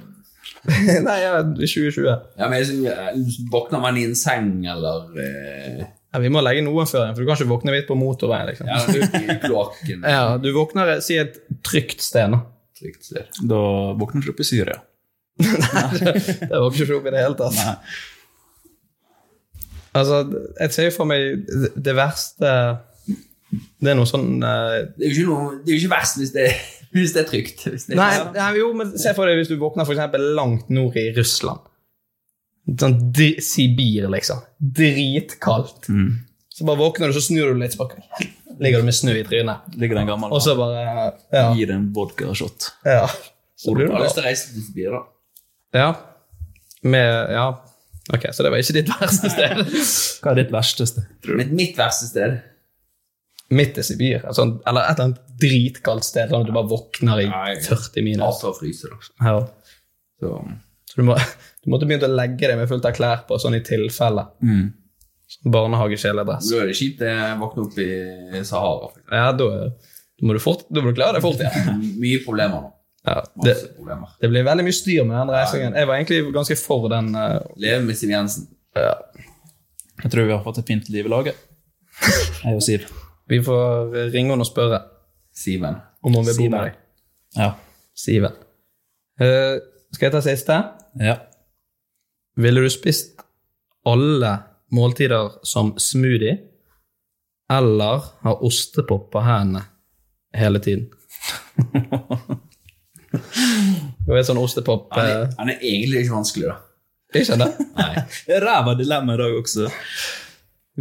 Nei, ja, 2020. Ja, Ja, men jeg synes, eh, Våkner man i en seng, eller eh, vi må legge noen før igjen, for du kan ikke våkne hvitt på motorveien. liksom. Ja, du er i kloakken. Ja, Du våkner si et trygt sted nå. Trygt sted. Da våkner du ikke opp i Syria. Det var ikke flott i det hele tatt. Altså, jeg ser jo for meg det- det verste Det er noe sånn eh, Det er jo ikke, noe, det er jo ikke verst hvis det, hvis det er trygt. Hvis det Nei, nei, jo, men se for deg hvis du våkner for eksempel langt nord i Russland. Sånn dri- Sibir, liksom. Dritkaldt. Mm. Så bare våkner du, så snur du litt, så bare ligger du med snø i trynet. Ligger den gamle Og så bare Ja. Gi deg en vodkashot. ja. Så blir Du du har bra. lyst til å reise til Sibir, da. Ja. Med Ja. Ok, så det var ikke ditt verste sted. Hva er ditt verste sted? Men mitt verste sted Midt i Sibir. Altså, eller et eller annet dritkaldt sted, sånn at du bare våkner i Nei. 40 minus. Hater å fryse, da. Ja. Så, Så du, må, du måtte begynt å legge deg med fullt av klær på, sånn i tilfelle. Mm. Sånn Barnehagekjeledress. da er det kjipt å våkne opp i Sahara. For eksempel. Ja, da, da må du fort, da må du klare deg fort igjen. Mye problemer nå. Ja, det, Masse problemer. det blir veldig mye styr med den reisingen. Jeg var egentlig ganske for den eh, Leve med Siv Jensen. Jeg tror vi har fått et fint liv i laget. Jeg og Siv. Vi får ringe henne og spørre Siven. om hun vil bo Siven. med deg. Ja. Siven. Eh, skal jeg ta siste? ja. Ville du spist alle måltider som smoothie, eller ha ostepop på hendene hele tiden? Du vet sånn ostepop Han er, eh, han er egentlig ikke vanskelig, da. Ikke det? Ræva dilemma i dag også.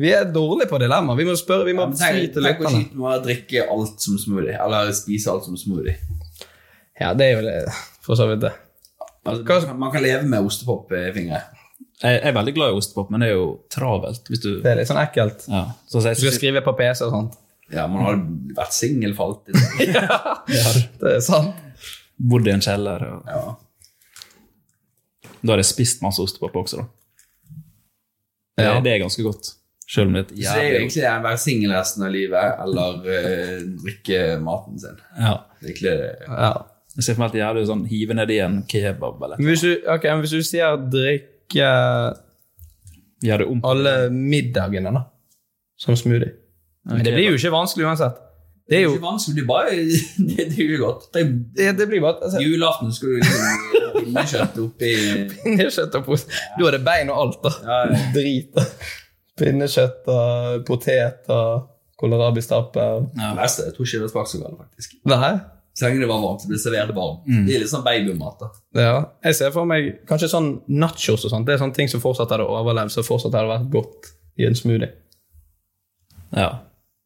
Vi er dårlige på dilemma. Vi må spørre, vi må si til Tenk tenk hvor lytterne. kjipt det må være å drikke alt som smoothie. Eller spise alt som smoothie. Ja, det er jo det, for så vidt det. Altså, man kan leve med ostepopfingre. Jeg er veldig glad i ostepop, men det er jo travelt. Hvis du, Det er litt sånn ekkelt. ja. Du skal skrive på PC og sånt. Ja, man har vært singel for alltid. Det er sant. Bodd i en kjeller. Og... Ja. Da har jeg spist masse ostepop også, da. Det, Ja. det er ganske godt. Selv om det er et Så det er jo jævlig egentlig det å være singel resten av livet, eller eh, drikke maten sin. Ja. Det er egentlig det. Jeg ser for meg et jævlig sånn hive ned i en kebab eller Men Hvis du, ok, men hvis du sier drikke Gjør det om. alle middagene, da, som smoothie Men det blir jo ikke vanskelig uansett. Det er jo ikke vanskelig, det er bare det, det er jo godt. Det, det, det blir bare altså, julaften skal du liksom finne kjøtt oppi Pinnekjøtt og pose. Du hadde bein og alt, da. Drit. Pinnekjøtt og potet og kålrabistappe og Det verste, jeg tror ikke det smaker så galt, faktisk. Nei. Så lenge det var varmt, det ble servert varm. Det er litt sånn babymat, da. Ja. Jeg ser for meg kanskje sånn nachos og sånt. Det er sånne ting som fortsatt hadde overlevd, som fortsatt hadde vært godt i en smoothie. Ja.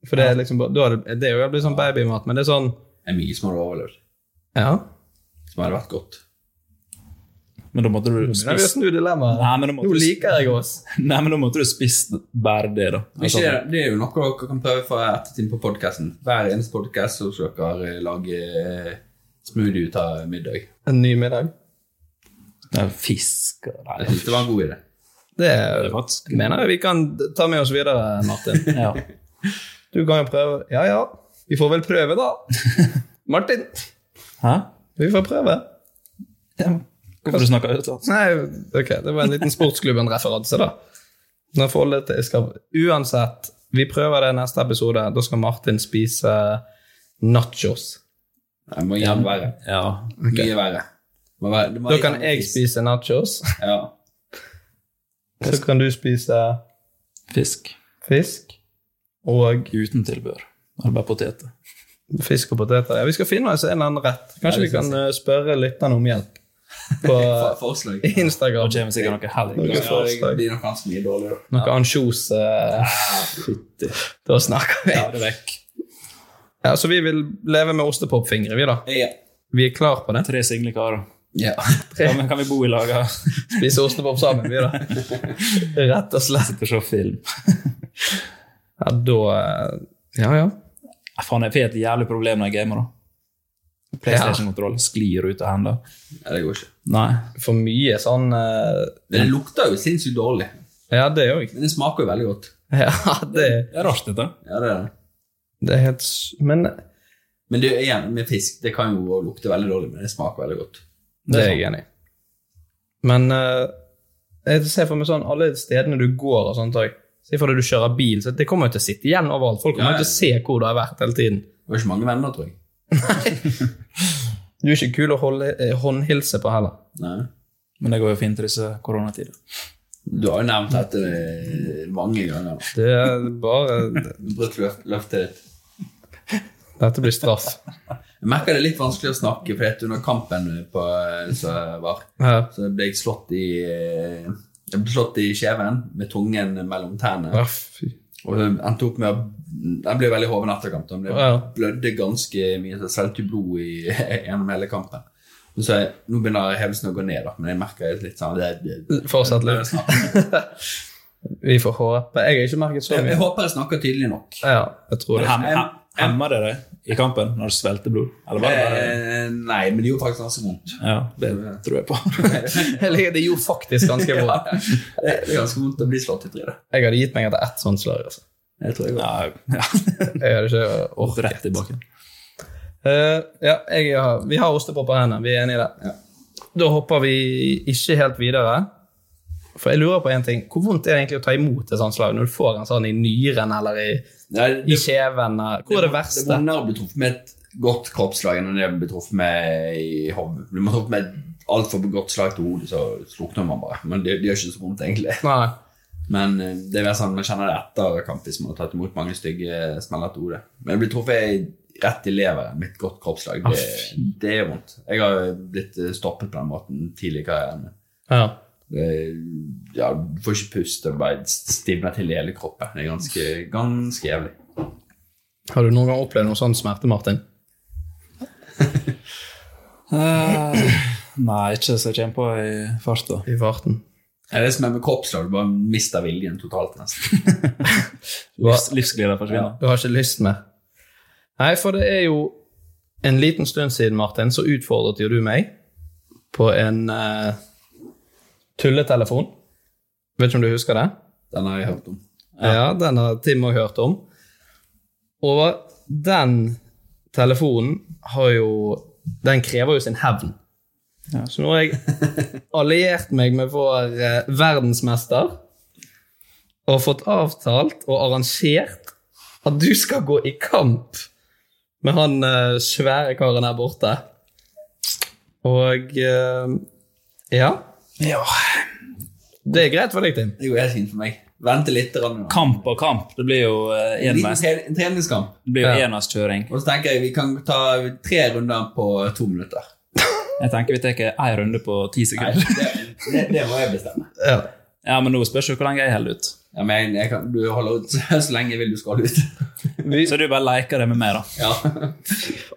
For det er liksom bare da er det, det er jo blitt sånn babymat, men det er sånn Det er mye som hadde overlevd, Ja. som hadde vært godt. Men da måtte du Nå vil jeg spist snu dilemmaet. Nei, men da måtte Nå du- liker jeg oss. Nei, men da måtte du spist bare det, da. Altså, Men Ikke, det- det er jo noe dere kan prøve for ettertid på podkasten. Hver eneste podkast så skal dere eh, lage eh, smoothie ut av middag. En ny middag. Nei, Fisk og Nei, Jeg synes det var en god idé. Det det er faktisk mener jeg vi kan ta med oss videre, Martin. Ja. Du kan jo prøve. Ja, ja. Vi får vel prøve, da. Martin, Hæ? vi får prøve. Hvorfor du snakker ut sånn? Nei, ok, det var en liten sportsklubben-referanse, da. Når forholdet til skal... Uansett, vi prøver det i neste episode. Da skal Martin spise nachos. Det må gjerne være. Ja. Mye verre. Må være- det må Da kan gjerne jeg fisk. spise nachos, Ja. så kan du spise Fisk. fisk og Uten tilbør. Eller bare poteter. Fisk og poteter. Ja, vi skal finne oss en eller annen rett. Kanskje vi kan eh, spørre lytterne om hjelp på For- Forslag. eh, Instagram. Det kommer sikkert noe Noe helg. Ja, det forslag. blir nok ganske mye dårligere. Noe ansjos eh, Da snakker vi. Ja, det er vekk. Ja, så vi vil leve med ostepopfingre, vi, da. Ja. Vi er klar på det. Tre single karer. ja. Ja, men kan vi bo i lag og Spise ostepop sammen, vi, da. Rett og slett. sitte og se film? Ja, da eh, Ja, ja. Ja, Faen, jeg får et jævlig problem når jeg gamer, da. PlayStation-kontroll sklir ut av hendene. ja, det går ikke. Nei. For mye sånn eh, Men det lukter jo sinnssykt dårlig. Ja, det òg. Men det smaker jo veldig godt. Ja, det, Det er rart, dette. Ja, det er det. det er helt s- Men eh, det Men det, igjen, med fisk, det kan jo lukte veldig dårlig, men det smaker veldig godt. er jeg enig i. Men eh, jeg ser for meg sånn alle stedene du går og sånt òg Se for deg du kjører bil, så det kommer jo til å sitte igjen overalt. Folk kommer Ja, ja. jo til å se hvor du har vært hele tiden. Det var ikke mange venner, tror jeg. Du er ikke kul å holde, eh, håndhilse på heller. Nei. Men det går jo fint i disse koronatider. Du har jo nevnt dette eh, mange ganger. nå. Det er bare Brutt løft, løftet ditt. Dette blir straff. Jeg merker det er litt vanskelig å snakke, for at under kampen på, som var, Ja. så ble jeg slått i eh, jeg ble slått i kjeven med tungen mellom tennene. Ja, fy. Og jeg endte opp med å Jeg ble veldig hoven etter kampen. Det Ja. blødde ganske mye. så Jeg svelget jo blod i, gjennom hele kampen. Men så jeg, nå begynner hevelsen å gå ned, da, men jeg merker jeg er litt sånn det, det, Fortsett litt. Vi får håpe. Jeg har ikke merket så Jeg, jeg mye. håper jeg snakker tydelig nok. Ja, jeg tror Men det. hem, hem, hemmer det deg i kampen når du svelter blod? Eller var det bare Eh, nei, men det gjorde faktisk ganske vondt. Ja, det tror jeg på. Eller, Det gjorde faktisk ganske bra. Det er ganske vondt å bli slått i trynet. Jeg hadde gitt meg etter ett sånt slag. altså. Det tror jeg godt. Ja, ja. Jeg hadde ikke orket. Rett i bakken. Eh, ja, jeg har, vi har ostepop på hendene. Vi er enige i det. Da hopper vi ikke helt videre. For jeg lurer på en ting. Hvor vondt er det egentlig å ta imot et sånt slag når du får en sånn i nyren eller i, Nei, i kjeven? eller- Hvor er det Det er verste? vondere å bli truffet med et godt kroppsslag enn det å bli truffet med i hodet. Blir man truffet med et altfor godt slag til hodet, så slukner man bare. Men det, det gjør ikke så vondt, egentlig. Nei. Men eh, det er mer sånn, man kjenner det etter kamp hvis man har tatt imot mange stygge smeller til hodet. Men å bli truffet i- rett i leveren med et godt Ah, kroppsslag, det, det er vondt. Jeg har blitt eh, stoppet på den måten tidlig i karrieren min. Ja. eh, ja, du får ikke puste, det bare stivner til i hele kroppen. Det er ganske, ganske jævlig. Har du noen gang opplevd noe sånn smerte, Martin? Eh, nei, ikke så jeg kommer på i farta. I farten. Det er det som er med kroppslag, du bare mister viljen totalt nesten. Livs, livsgleden forsvinner. Du har ikke lyst mer. Nei, for det er jo en liten stund siden, Martin, så utfordret jo du meg på en eh, tulletelefon. Vet ikke om du husker det? Den har jeg hørt om. Ja, den har Tim òg hørt om. Og den telefonen har jo Den krever jo sin hevn. Så nå har jeg alliert meg med vår eh, verdensmester og fått avtalt og arrangert at du skal gå i kamp med han eh, svære karen her borte. Og eh, ja. Ja. Det er greit for deg, Tim. Det går helt fint for meg. Vente litt. grann nå. Kamp og kamp. Det blir jo eh, En liten enveis. tre- en treningskamp. Det blir jo Ja. enveiskjøring. Og så tenker jeg vi kan ta tre runder på to minutter. Jeg tenker vi tar ei runde på ti Nei, sekunder. det, det, det må jeg bestemme. Ja. Ja, Men nå spørs jo hvor lenge jeg holder ut. Ja, men jeg, jeg kan, du holder ut så lenge jeg vil du skal holde ut. Så du bare leker det med meg, da. Ja.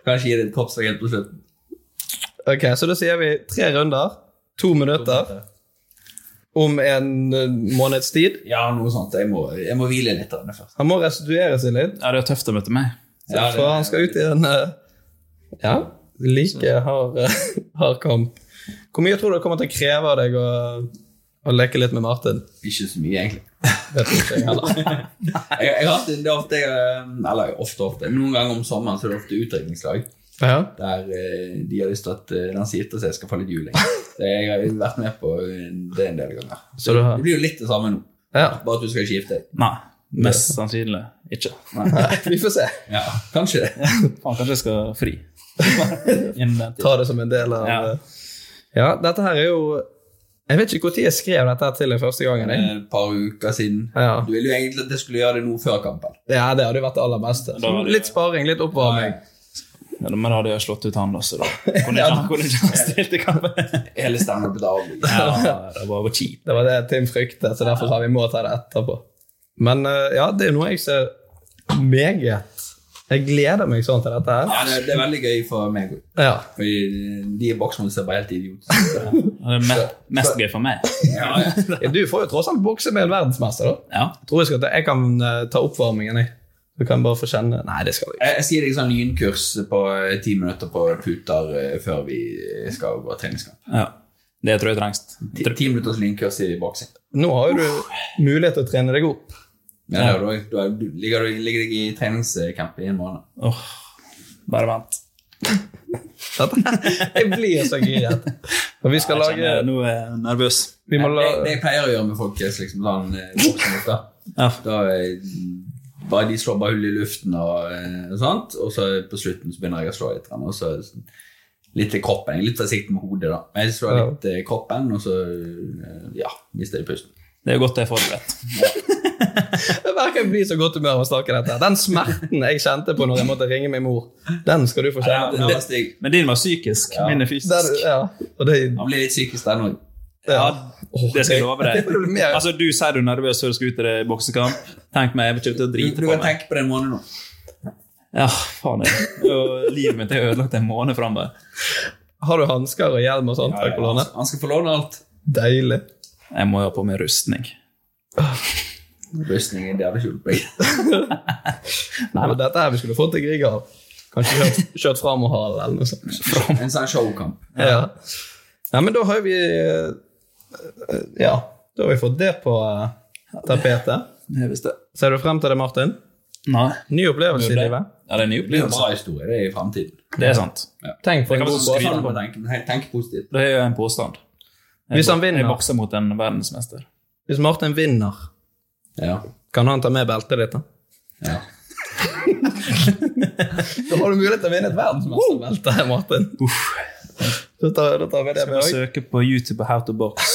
Kanskje gi det et kroppsslag helt på slutten. Ok, så da sier vi tre runder, to minutter, om en eh, måneds tid. Ja, noe sånt. Jeg må, jeg må hvile litt av det først. Han må restituere seg litt, Ja, Det er tøft å møte meg. Ja, det- for han skal ut i en eh, ja, like hard, eh, hard kamp. Hvor mye tror du det kommer til å kreve av deg å, å leke litt med Martin? Ikke så mye, egentlig. Det tror ikke jeg heller. Jeg, jeg har alltid, det er ofte, jeg- eh, eller ofte, ofte, noen ganger om sommeren så er det ofte utdrikningslag. Ja. Der eh, de har lyst til at eh, den sitter så jeg skal få litt juling. Det Jeg har vært med på eh, det en del ganger. Så du har- Det blir jo litt det samme nå. ja. Bare at du skal ikke gifte deg. Nei, mest sannsynlig ikke. Vi får se. Ja, kanskje det. Faen, kanskje jeg skal fri. Innen den tid. Ta det som en del av Ja. eh, ja, dette her er jo Jeg vet ikke når jeg skrev dette her til deg første gangen. jeg. Et par uker siden. Ja. Du ville jo egentlig at jeg skulle gjøre det nå før kampen. Ja, det hadde jo vært det aller beste. Da hadde- Litt sparing, litt oppvarming. Ja, men da hadde jeg slått ut han, da, så da kunne ikke han- kunne ikke han stilt i kampen. Hele stemmen ble avbrutt. Ja, det var bare kjipt. Det var det Tim fryktet, så derfor sa vi må ta det etterpå. Men eh, ja, det er noe jeg ser meget Jeg gleder meg sånn til dette Ja, her. eh, det, det er veldig gøy for meg òg. Ja. Fordi eh, de i boksen ser bare helt idiotiske ut. Det er mest, mest gøy for meg. Ja, ja. Du får jo tross alt bokse med en verdensmester, da. Ja. Jeg tror jeg skal ta, jeg kan eh, ta oppvarmingen, jeg. Du kan bare få kjenne Nei, det skal du ikke. Jeg, jeg sier deg sånn lynkurs på eh, ti minutter på puter eh, før vi skal gå treningskamp. ja. Det tror jeg trengs. Ti, ti minutters lynkurs i boksing. Nå har jo du mulighet til å trene deg opp. Men det er jo da- da du- ligger du ligger deg i treningscamp i en måned. Åh, bare vent. Dette- Jeg blir så giret. Og vi skal Jeg kjenner, lage nå er jeg nervøs. Vi må la det, det jeg pleier å gjøre med folk, er liksom sånn eh, boksing da. Ja. da eh, bare De slår bare hull i luften og, eh, og sånt, og så på slutten så begynner jeg å slå litt. grann, Og så sånn litt til kroppen. Jeg er litt forsiktig med hodet, da. Men jeg slår Ja. litt til kroppen, og så eh, ja, mister jeg pusten. Det er godt jeg er forberedt. Jeg merker jeg blir så godt humør av å snakke dette. Den smerten jeg kjente på når jeg måtte ringe min mor, den skal du få kjenne. Nå var jeg Men din var psykisk, min er fysisk. Der, ja. Og det, jeg blir litt psykisk den òg. Ja, det skal jeg love Det blir deg. mer- Altså, du sier du er nervøs før du skal ut i det boksekamp. Tenk meg, jeg vil ikke til å Du, drite du på kan meg. tenke på det en måned nå. Ja, faen jeg. Og livet mitt er ødelagt en måned framover. Har du hansker og hjelm og sånt? Frank Han Olane? skal- han skal få låne alt. Deilig. Jeg må ha på meg rustning. Rustningen, det hadde ikke hjulpet meg. Det var dette her vi skulle fått til Grieg av. Kanskje kjørt, kjørt fram og halen eller noe sånt. En sånn showkamp. Ja. Nei, men da har vi eh, Ja, da har vi fått det på eh, tapetet. Det visste jeg. Ser du frem til det, Martin? Nei. Ny opplevelse i Det- livet. Ja, det er en ny Det blir jo en opplevelse. bra historie det er i fremtiden. Det er sant. Tenk for Det en kan god man Bare skryte båt. sånn man tenker, Nei, tenk positivt. Det er jo en påstand. Jeg Hvis han bok- vinner. Jeg bokser mot en verdensmester. Hvis Martin vinner, Ja. kan han ta med beltet ditt? da? ja. Da har du mulighet til å vinne et verdensmesterbeltet, Martin. Da tar, da tar vi det Jeg med må òg. søke på YouTube på How to Box.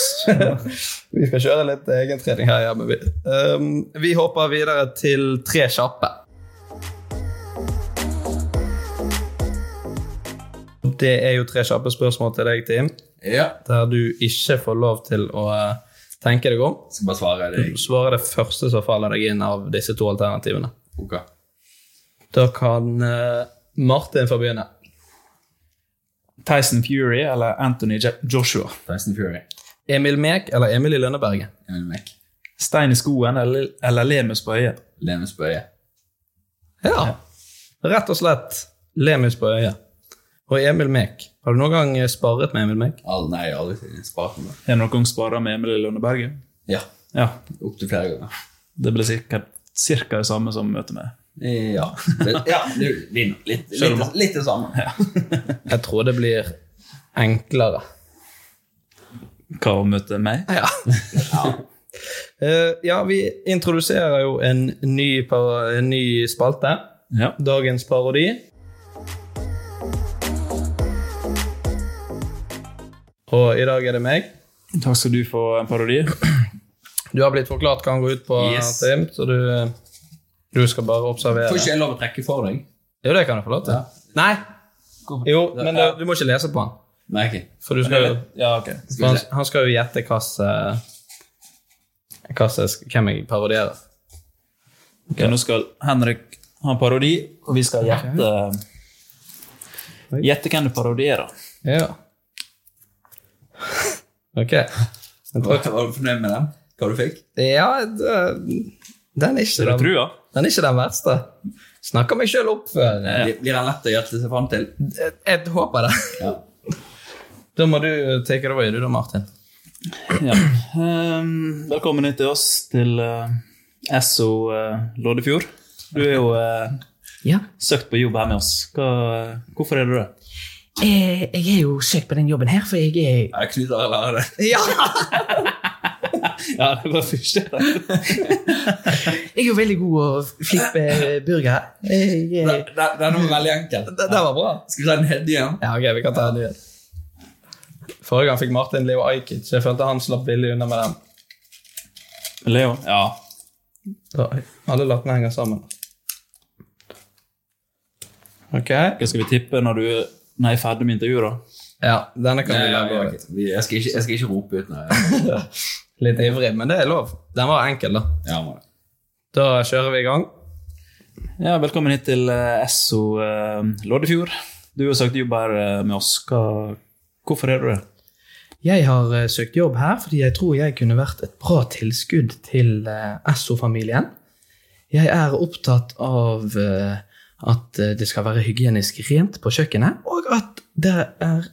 Vi skal kjøre litt egentrening her hjemme. Vi, um, vi hopper videre til tre kjappe. Det er jo tre kjappe spørsmål til deg, Tim. der du ikke får lov til å eh, tenke deg om. Skal bare svare Du svarer det første som faller deg inn av disse to alternativene. Ok. Da kan eh, Martin få begynne. Tyson Fury eller Anthony Jo- Joshua? Tyson Fury. Emil Mek eller Emil i Lønneberget? Emil Mek. Stein i skoen eller, eller Lemus på øyet? Lemus på øyet. Ja. Rett og slett Lemus på øyet. Og Emil Mek. Har du noen gang eh, sparret med Emil Mek? All, nei, jeg har aldri spart med det. Har du noen gang spara med Emil i Lønneberget? Ja. Ja. Opptil flere ganger. Det blir sikkert cirka det samme som møtet med Eh, Ja. Det- ja du, din, litt, Selv om- litt, litt det samme. Jeg tror det blir enklere. Hva å møte meg? Ja. Eh, ja, vi introduserer jo en ny, par, en ny spalte. Ja. Dagens parodi. Og i dag er det meg. Takk skal du få en parodi. Du har blitt forklart hva han går ut på, Yes. Tim, så du, du skal bare observere. Får ikke jeg lov å trekke for deg? Jo, det kan du få lov til. Ja. Nei! Jo, men du, du må ikke lese på han. Nei, ok. For, du skal, jo- Ja, ok. for han, han skal jo gjette hva som- hva som- hvem jeg parodierer. Ok, Nå skal Henrik ha en parodi, og vi skal gjette Gjette hvem du parodierer. Ja. Ok. Var, var du fornøyd med den? Hva du fikk? Ja, det- den er ikke Er du den, trua? den, er ikke den verste. Snakker meg sjøl opp. eh, Blir- Blir den lett å gjette seg fram til? Jeg, jeg håper det. Ja. Da må du take it away, du da, Martin. Ja. Ehm, velkommen hit til oss, til eh, Esso eh, Loddefjord. Du er jo eh, Ja. søkt på jobb her med oss. Hva, hvorfor er du det? Eh, jeg er jo søkt på den jobben her, for jeg er Jeg Knut Arild Hareide. ja, Ja, det var første jeg tenkte. Jeg er jo veldig god å flippe burger. Jeg er, Den den var veldig enkel. Det, det var bra. Skal vi ta den nedi igjen? Ja, ok, vi kan ta en ny. Forrige gang fikk Martin Leo Ajkic. Jeg følte han slapp billig unna med den. Leo? Ja. Da, alle lattene henger sammen. Ok. Hva skal vi tippe når du når jeg er ferdig med intervjuet, da? Ja, denne kan vi Nei, lage. jeg, også. jeg, jeg, jeg, skal ikke, jeg skal ikke rope ut når jeg Litt ivrig, men det er lov. Den var enkel, da. Ja, må det. Da kjører vi i gang. Ja, velkommen hit til eh, Esso eh, Loddefjord. Du har søkt jobb her eh, med oss. Hva, hvorfor er du det? jeg har eh, søkt jobb her fordi jeg tror jeg kunne vært et bra tilskudd til eh, Esso-familien. Jeg er opptatt av eh, at eh, det skal være hygienisk rent på kjøkkenet, og at det er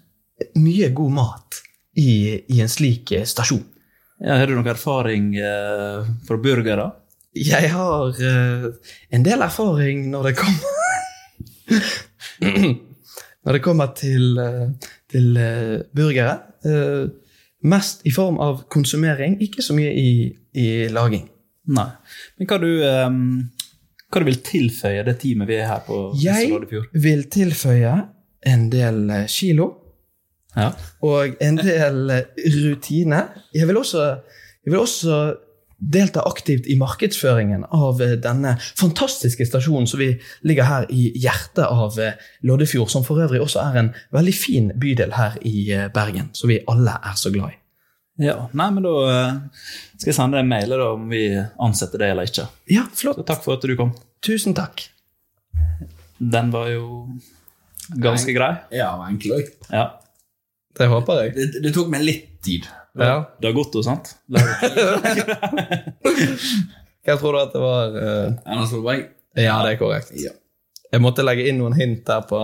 mye god mat i, i en slik eh, stasjon. Ja, har du noen erfaring eh, fra burgere? Jeg har eh, en del erfaring når det kommer Når det kommer til, eh, til eh, burgere. eh, mest i form av konsumering, ikke så mye i, i laging. Nei. Men hva du, ehm, hva du vil tilføye det teamet vi er her på Jeg Loddefjord? vil tilføye en del eh, kilo Ja. og en del eh, rutine. Jeg vil også, jeg vil også delta aktivt i markedsføringen av eh, denne fantastiske stasjonen som vi ligger her i hjertet av eh, Loddefjord, som for øvrig også er en veldig fin bydel her i eh, Bergen, som vi alle er så glad i. ja. Nei, men da eh, skal jeg sende deg en mail da, om vi ansetter det eller ikke. Ja, Så flott. takk for at du kom. Tusen takk. Den var jo ganske grei. Ja, det var enkel òg. Ja. Det håper jeg. Det, det tok meg litt tid. Ja. Det har gått henne, sant? Det har- Hva tror du at det var? eh? Erna Solberg, Ja, det er korrekt. Ja. Jeg måtte legge inn noen hint der på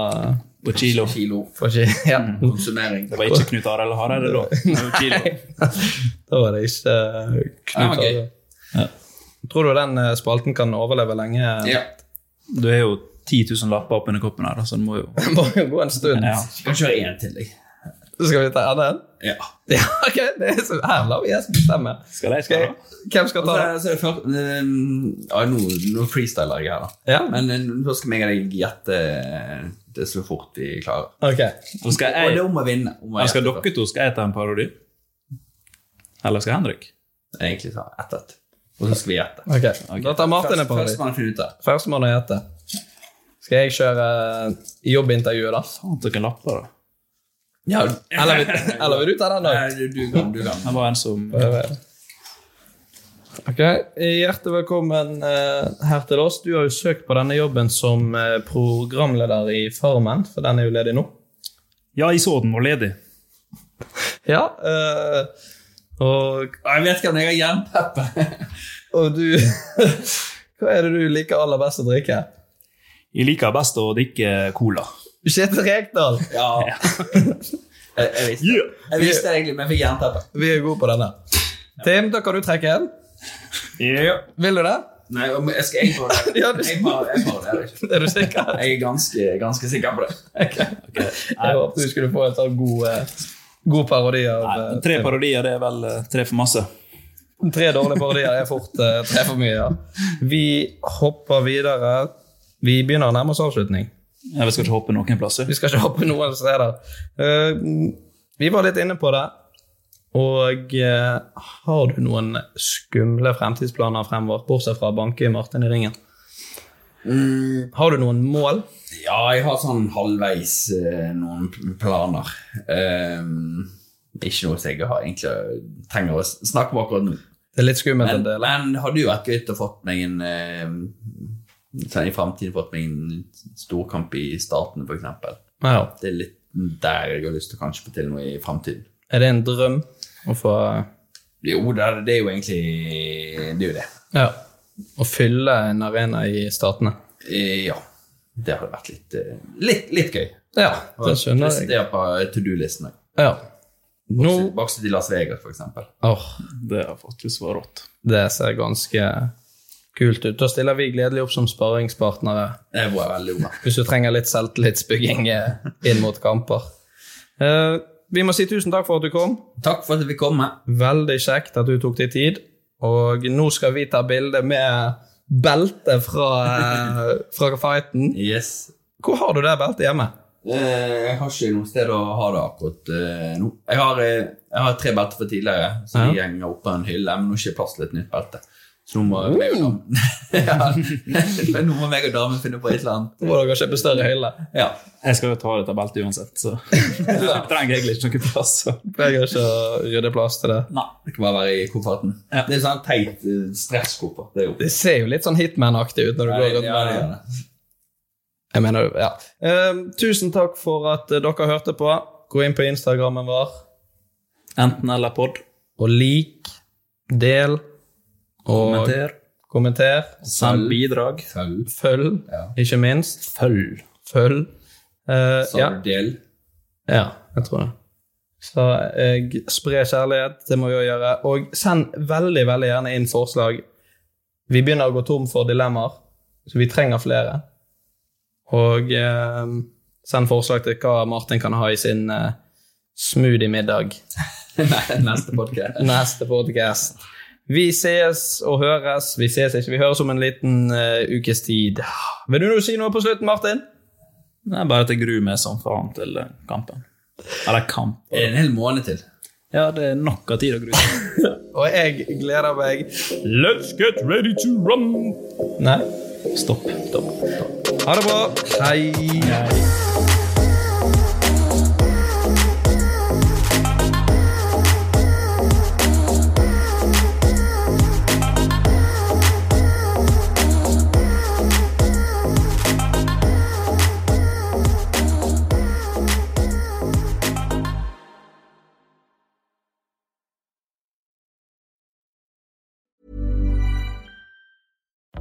På kilo. kilo, for ikke, ja. Mm. konsumering. Det var ikke Knut Arild Hareide, da. Det var kilo. Da var det ikke eh, Ja, Knut. men gøy. Arild. Tror du den eh, spalten kan overleve lenge? Ja. Du har jo 10 000 lapper oppunder koppen her, da, så du må jo Det må jo gå en stund. ja. Vi kan kjøre én til, jeg. Så skal vi ta den? Ja. Ja, ok. Det er så, her lar vi gjesten bestemme. Skal jeg Skal, svare? hvem skal Og så ta er- den? så er det først eh, Ja, nå, nå freestyler jeg her, da. Ja, Men eh, nå skal jeg og deg gjette eh, det så fort vi klarer. ok. Eller Og det skal jeg, er om å vinne. Om å eller skal gjette dere to skal jeg ta en parodi? Eller skal Henrik? først. Egentlig så ett ett. Og så skal vi gjette. ok. Da tar Martin en Først- parodi. Førstemann finner ut det. Førstemann å gjette. Skal jeg kjøre eh, jobbintervjuet, da? Faen, dere lapper, da. Ja, eller, vil- eller vil du ta den òg? Du, du kan. du kan. Han var en som Ok, Hjertelig velkommen eh, her til oss. Du har jo søkt på denne jobben som eh, programleder i Farmen, for den er jo ledig nå. Ja, jeg så den var ledig. Ja, eh, og Jeg vet ikke om jeg har jernteppe. Og du Hva er det du liker aller best å drikke? Jeg liker best å drikke cola. Kjetil Rekdal! Ja. Jeg, jeg visste det. Jeg visste det egentlig, men jeg fikk jernteppe. Vi er gode på denne. Tim, da kan du trekke en. Ja. Vil du det? Nei, om- jeg skal jeg får det. Ja, du- Jeg får jeg får det. jeg vet ikke. Er du sikker? Jeg er ganske, ganske sikker på det. Jeg håpet du skulle få en sånn god, eh, god parodi av eh, Tre parodier, det er vel eh, tre for masse. Tre dårlige parodier er fort eh, tre for mye. ja. Vi hopper videre. Vi begynner å nærme oss avslutning. Ja, vi skal ikke hoppe noen plasser. Vi skal ikke hoppe noen steder. Eh, vi var litt inne på det. Og eh, har du noen skumle fremtidsplaner fremover, bortsett fra å banke Martin i ringen? Har du noen mål? Ja, jeg har sånn halvveis eh, noen p- planer. Ehm, ikke noe som jeg har egentlig eh, trenger å s- snakke om akkurat nå. Det er litt skummelt Men, en del. men hadde jo vært gøy å fått meg en eh, sånn I fremtiden fått meg en storkamp i staten, f.eks. Ja. Det er litt der jeg har lyst til å kanskje få til noe i fremtiden. Er det en drøm å få Jo, det er, det er jo egentlig Det er jo det. Ja. Å fylle en arena i Statene. Eh, Ja. Det hadde vært litt, eh, litt, litt gøy. Ja, det skjønner Pluss jeg. Det er på to do-listen. også. Ja. Nå Vokse- Vokse til Las Vegas, f.eks. Åh, Det har faktisk vært rått. Det ser ganske kult ut. Da stiller vi gledelig opp som sparringspartnere. Det var veldig bra. hvis du trenger litt selvtillitsbygging eh, inn mot kamper. Eh, vi må si tusen takk for at du kom. Takk for at vi kom. Med. Veldig kjekt at du tok deg tid. Og nå skal vi ta bilde med belte fra, eh, fra fighten. Yes. Hvor har du det beltet hjemme? Eh, jeg har ikke noe sted å ha det akkurat eh, nå. Jeg har, eh, jeg har tre belter fra tidligere, så de henger oppå en hylle. Men nå er det ikke plass til et nytt belte. Så nå må meg og damen ja. Men nå må meg og damen finne på et eller annet. Må dere kjøpe større hylle? Ja. Jeg skal jo ta dette beltet uansett, så jeg trenger egentlig ikke noen plass. Så. Jeg har ikke rydde plass til det. Nei. Det kan bare være i kofferten. Ja. Det er sånn teit eh, stresskoffert. Det er jo Det ser jo litt sånn Hitman-aktig ut når du Ja, går det- rundt ja, med det det. er det. Jeg mener, ja. Eh, tusen takk for at eh, dere hørte på. Gå inn på Instagrammen vår. Enten eller pod. og lik, del og Kommenter. kommenter. Send bidrag. Følg. Følg, Ja. ikke minst. Følg. Følg. Eh, Sa ja. du del? ja, jeg tror det. Så jeg sprer kjærlighet, det må vi jo gjøre. Og send veldig, veldig gjerne inn forslag. Vi begynner å gå tom for dilemmaer, så vi trenger flere. Og eh, send forslag til hva Martin kan ha i sin eh, smoothie-middag. Nei, neste podkast. neste podcast. Vi ses og høres. Vi ses ikke, vi høres om en liten eh, ukes tid. Vil du nå si noe på slutten, Martin? Det er bare at jeg gruer meg som faen til eh, kampen. Eller kamp. Det er en hel måned til. Eh, Ja, det er nok av tid å grue seg. Og jeg gleder meg. Let's get ready to run! Nei, Stopp. Stopp. ha det bra. Hei.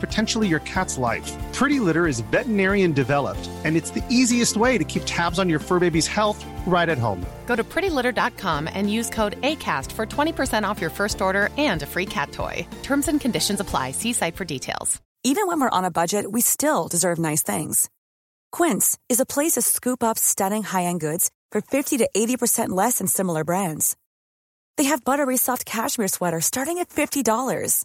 potentially your cat's life. Pretty Litter is veterinarian developed, and it's the easiest way to keep tabs on your fur baby's health right at home. Go to prettylitter.com and use code ACAST for 20% off your first order and a free cat toy. Terms and conditions apply. See site for details. Even when we're on a budget, we still deserve nice things. Quince is a place to scoop up stunning high end goods for 50 to 80% less than similar brands. They have buttery soft cashmere sweaters starting at $50,